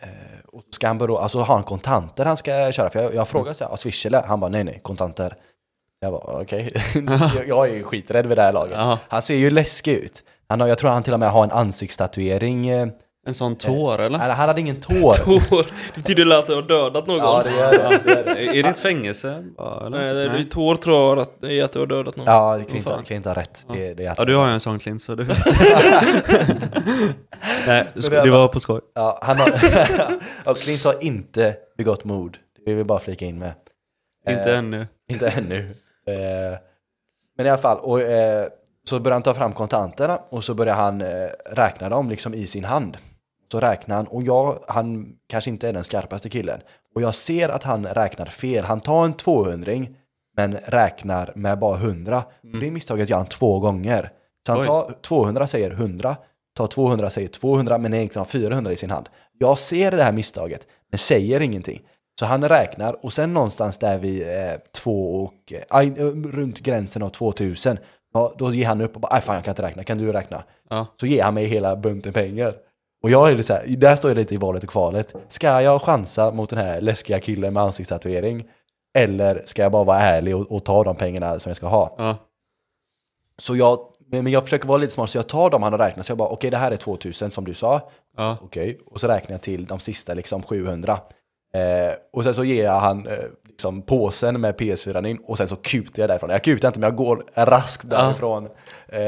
eh, och så ska han börja, alltså har han kontanter han ska köra? För jag, jag frågade så här, "Ah, swish eller? Han bara nej nej, kontanter. Jag bara okej, jag, jag är ju skiträdd vid det här laget. Ja. Han ser ju läskig ut. Han har, jag tror han till och med har en ansiktstatuering. eh, En sån tår eller? Eller han hade ingen tår. Tår. Det betyder att jag har dödat någon. Ja, det gör det. det, gör det. Är det ett fängelse? bara, Eller? Nej, det är tår tror jag att, är att du har dödat någon. Ja, det kan Vad inte, fan. kan inte ha rätt. Det, det är att, Ja, du har ju en sån klint så du vet. Nej, det är det var på skoj. ja, han har, ja, Klint har inte begått Eh, mord. Det vill vi bara flika in med. Inte ännu. Inte ännu. Eh, Men i alla fall, och, eh, så började han ta fram kontanterna och så började han eh, räkna dem liksom i sin hand. Så räknar han, och jag, han kanske inte är den skarpaste killen. Och jag ser att han räknar fel. Han tar en 200 men räknar med bara 100. Och det misstaget gör han två gånger. Så han Mm. Oj. tar 200, säger 100, tar 200, säger 200, men egentligen har 400 i sin hand. Jag ser det här misstaget, men säger ingenting. Så han räknar och sen någonstans där vi eh, två och, eh, aj, eh, runt gränsen av 2000, ja, då ger han upp och bara, "Aj, fan jag kan inte räkna, kan du räkna? Ja. Så ger han mig hela bunten pengar. Och jag är lite så här, där står jag lite i valet och kvalet. Ska jag chansa mot den här läskiga killen med ansiktstatuering? Eller ska jag bara vara ärlig och, och ta de pengarna som jag ska ha? Ja. Så jag, men men jag försöker vara lite smart, så jag tar de han har räknat. Så jag bara, okej det här är 2000 som du sa. Ja. Okej, och så räknar jag till de sista liksom 700. Eh, och sen så ger jag han eh, liksom påsen med PS4 in och sen så kutar jag därifrån. Jag kutar inte men jag går raskt därifrån. Eh,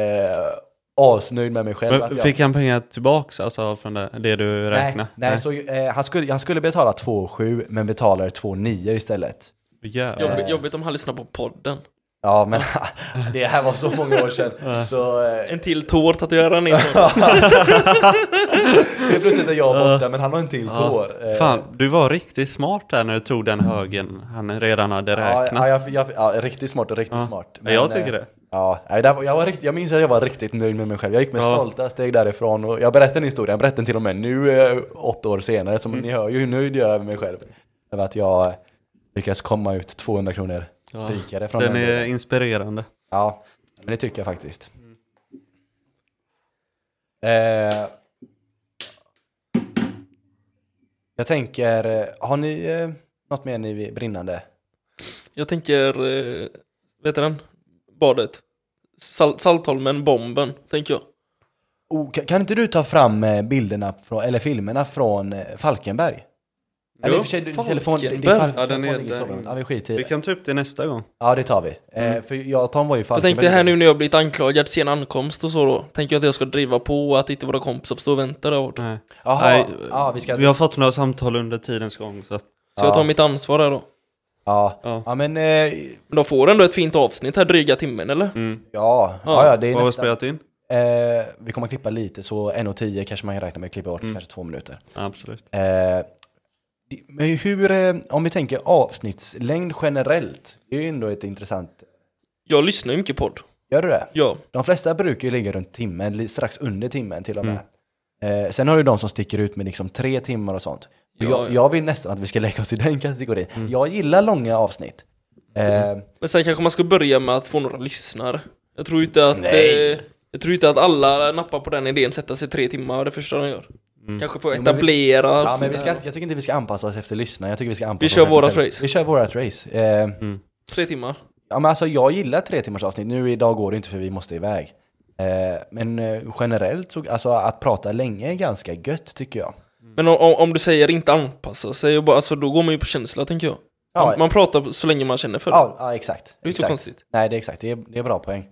asnöjd med mig själv. Men att jag, fick han pengar tillbaks alltså från det, det du nej, räknade? nej, Så, eh, han, skulle, han skulle betala 2,7 men betalade 2,9 istället. Jävlar. Jobbigt, jobbigt om han lyssnar på podden. Ja men det här var så många år sedan. så, eh, En till tår tatuerar ner honom. det är plötsligt är jag borta men han har en till Ja. tår. Eh, Fan, du var riktigt smart där när du tog den högen han redan hade Ja, räknat. ja, jag, jag, ja, riktigt smart och riktigt Ja. smart. Ja, jag tycker eh, det. Ja, nej, där var- jag, var riktigt, jag minns att jag var riktigt nöjd med mig själv. Jag gick med Ja. stolta steg därifrån och jag berättade den historien, jag berättade den till och med nu eh, åtta år senare. Så Mm. ni hör ju hur nöjd jag är med mig själv. Över att jag lyckades komma ut 200 kronor Ja. rikare från Den den. är delen. inspirerande. Ja, men det tycker jag faktiskt. Eh, jag tänker, eh, har ni eh, något mer ni vill- brinnande? Jag tänker, eh, vet du den? Badet. Sal Saltholmen, bomben, tänker jag. Oh, ka- kan inte du ta fram eh, bilderna från, eller filmerna från eh, Falkenberg? Eller i och för sig, Falkenberg. telefon, det, det Ja, är den ja, den är- är, den- ja, vi skiter i Vi det. kan Mm. ta upp det nästa gång. Ja, det tar vi. Eh, för jag och Tom var ju i Jag Falkenberg. tänkte här nu när jag blivit anklagad, sen ankomst och så då. Tänker jag att jag ska driva på och att inte våra kompisar får stå och vänta där borta. Nej. Jaha, Nej, ja, Ah, vi ska... Vi har fått några samtal under tidens gång. Så att, Så jag Ja. tar mitt ansvar där då. Ja, ja. ja men... Eh, Men de får ändå ett fint avsnitt här dryga timmen eller? Mm. ja, ja, ja, det är Vad har vi nästa. spelat in? Eh, vi kommer att klippa lite, så 1.10 kanske man kan räkna med att klippa bort Mm. kanske två minuter. Absolut. Eh, det- men hur, eh, om vi tänker avsnittslängd generellt, det är ju ändå ett intressant... Jag lyssnar ju mycket podd. Gör du det? Ja. De flesta brukar ju ligga runt timmen, li- strax under timmen till och med. Eh, sen har du de som sticker ut med liksom tre timmar och sånt. Mm. Ja, jag, ja. Mm. jag vill nästan att vi ska lägga oss i den kategorin. Jag gillar långa avsnitt. Eh, Men sen kanske man ska börja med att få några lyssnare. Jag tror inte att... Nej. Eh, jag tror inte att alla nappar på den idén, sätta sig tre timmar det första de gör. Kanske få men vi- etablera ja, men vi avsnitt ska, här. inte- jag tycker inte vi ska anpassa oss efter lyssnarna. Jag tycker vi ska anpassa Vi oss kör efter vårat själva- race. Vi kör vårat race. Eh, Tre timmar. ja, men alltså, jag gillar tre timmars avsnitt. Nu idag går det inte för vi måste iväg. Eh, men eh, generellt, så, alltså, att prata länge är ganska gött tycker jag. Men om- om, om du säger inte anpassa sig, och bara, alltså, då går man ju på känsla tänker jag. Ja. Man, man pratar så länge man känner för det. Ja, ja exakt. Det är inte så exakt. konstigt. Nej, det är exakt. Det är, det är bra poäng.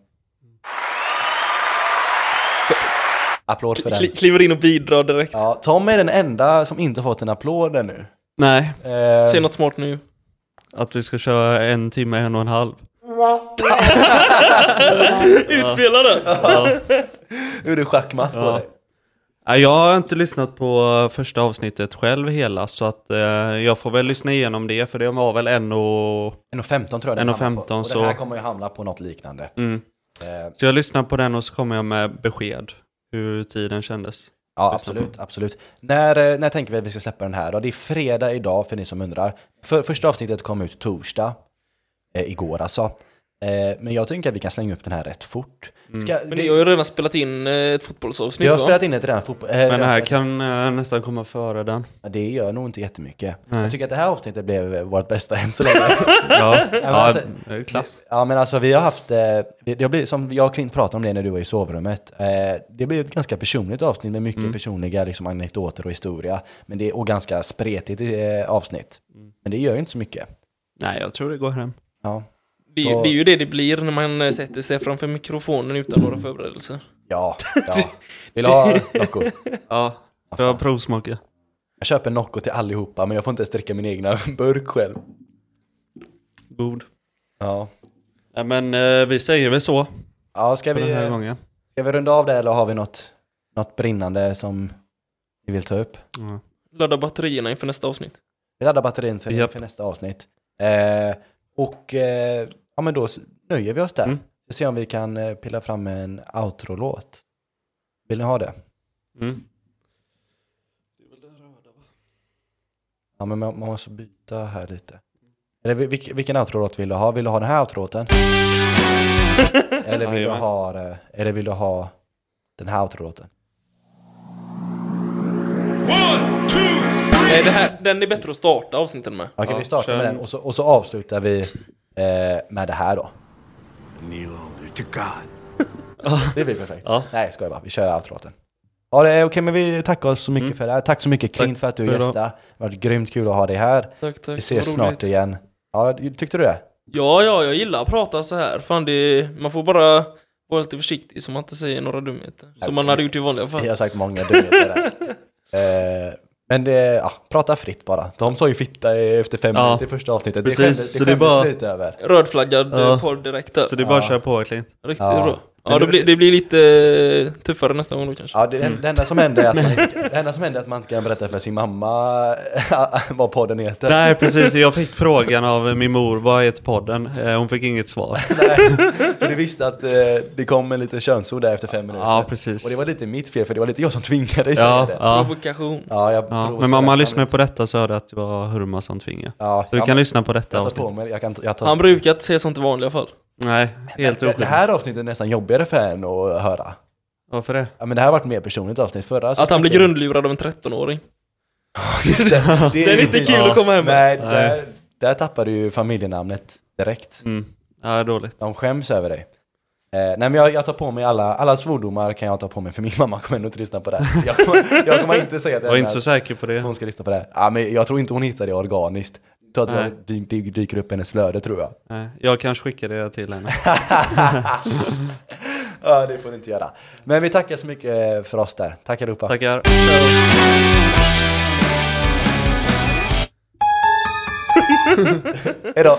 Applåd för den. Kli, kliver in och bidrar direkt. Ja, Tom är den enda som inte fått en applåd ännu. Nej, Eh, Säg något smart nu. att vi ska köra en timme, en och en halv. Utspela det! Eh, nu är det schackmatt på Ja. dig. Nej, Jag har inte lyssnat på eh, första avsnittet själv hela, så att eh, jag får väl lyssna igenom det, för det var väl en och... 1,15 tror jag den 1,15 hamnar på. Och så- den här kommer ju hamna på något liknande. Mm. Eh, Så jag lyssnar på den och så kommer jag med besked hur tiden kändes. Ja, Lyssna på. absolut, absolut. När, eh, när tänker vi att vi ska släppa den här då? Det är fredag idag för ni som undrar. För, första avsnittet kom ut torsdag, eh, igår alltså. Eh, men jag tänker att vi kan slänga upp den här rätt fort. Mm. Ska, Men det- ni har ju redan spelat in eh, ett fotbollsavsnitt Jag har va? spelat in ett redan fotboll... eh, Men jag det har här spelat- kan eh, nästan komma före den. Ja, Det gör nog inte jättemycket. Nej. Jag tycker att det här avsnittet blev eh, vårt bästa än så länge. Ja, men ja alltså- det är klass. Ja men alltså vi har haft, eh, vi- det har blivit, som jag och Clint pratade om det när du var i sovrummet, eh, det blev ett ganska personligt avsnitt med Mm. mycket personliga liksom, anekdoter och historia. Men det, och ganska spretigt eh, avsnitt. Mm. Men det gör ju inte så mycket. Nej, jag tror det går hem. Ja, Det, Så- är- det är ju det det blir när man eh, sätter sig framför mikrofonen utan några förberedelser. ja, ja. Vill du ha Nocco? Ja, får jag provsmaka? Jag köper Nocco till allihopa men jag får inte ens dricka min egna burk själv. God. Ja. Ja, men eh, vi säger väl så Ja, ska för den vi, eh, här gången. ska vi runda av det eller har vi något, något brinnande som vi vill ta upp? Ja. Ladda batterierna inför nästa avsnitt. Vi laddar batterin till Japp. för nästa avsnitt. Eh, och eh, ja, men då s- nöjer vi oss där. Mm. Vi ser om vi kan eh, pilla fram en outro-låt. Vill ni ha det? Mm. Ja, men man, man måste byta här lite. Eller vil- vilk, vilken outro-låt vill du ha? Vill du ha den här outro-låten? eller, vill du Jajamän. ha, eh, eller vill du ha den här outro-låten? One, two, Nej, det här, den är bättre att starta avsnitten med. Okej, Ja, vi startar kör med den. den och så, och så avslutar vi eh, med det här då. kneel only to God. Det blir perfekt. Ja. Nej, skojar bara. Vi kör outrolåten. Ja, det är okej, men vi tackar oss så Mm. mycket för det här. Tack så mycket Clint för att du för idag. gästade. Det har varit grymt kul att ha dig här. Tack, tack. Vi ses Vad roligt. snart igen. Ja, tyckte du det? Ja, ja, jag gillar att prata så här. Fan, det, man får bara vara lite försiktig så man inte säger några dumheter. Som man hade gjort i vanliga fall. Jag har sagt många dumheter där. Eh, Men det, ja, prata fritt bara. De sa ju fitta efter fem Ja. minuter i första avsnittet. Det Precis, skämdes så det det är skämdes bara- lite över. Rödflaggad Ja. ja. podd direkt där. Så det är bara att köra på Clint. Riktigt Ja. bra. Ja, Men det du- blir, det blir lite eh, tuffare nästa gång då kanske. Ja, det, det, enda som hände är att man, det enda som hände är att man inte kan berätta för sin mamma vad podden heter. Nej precis, jag fick frågan av min mor, vad heter podden? Eh, Hon fick inget svar. För du visste att eh, det kom en liten könsord där efter fem minuter. Ja precis. Och det var lite mitt fel, för det var lite jag som tvingade dig säga Ja, det. ja. Provokation. Ja, jag Ja, provocerar men om man fram lyssnar lite. på detta så hörde jag att det var Hurma som tvingade. Ja, Så du ja, kan men lyssna på detta Jag tar på avsnitt. mig, jag kan jag tar, Han brukar inte säga sånt i vanliga fall. Nej, helt det, det oskyldigt. här avsnittet är nästan jobbigare för en att höra. Varför det? Ja, men det här har varit mer personligt avsnitt förra. så Att han blir snackade- grundlurad av en 13-åring. Just det, Det är inte kul Ja. att komma hem med. Nej, Nej. där, där tappar du ju familjenamnet direkt. Mm. Ja, dåligt. De skäms över dig. Eh, nej men jag, jag tar på mig alla, alla svordomar kan jag ta på mig för min mamma kommer ändå inte lyssna på det här. Jag, kommer- jag kommer inte säga att Jag var inte är- så säker på det. hon ska lyssna på det här. Ja, men jag tror inte hon hittar det organiskt. Så att Nej. jag, det, det dyker upp i hennes flöde tror jag. Nej, Jag kanske skickar det till henne. Ja, det får ni inte göra. Men vi tackar så mycket eh, för oss där. Tack allihopa. Tackar. Hej då.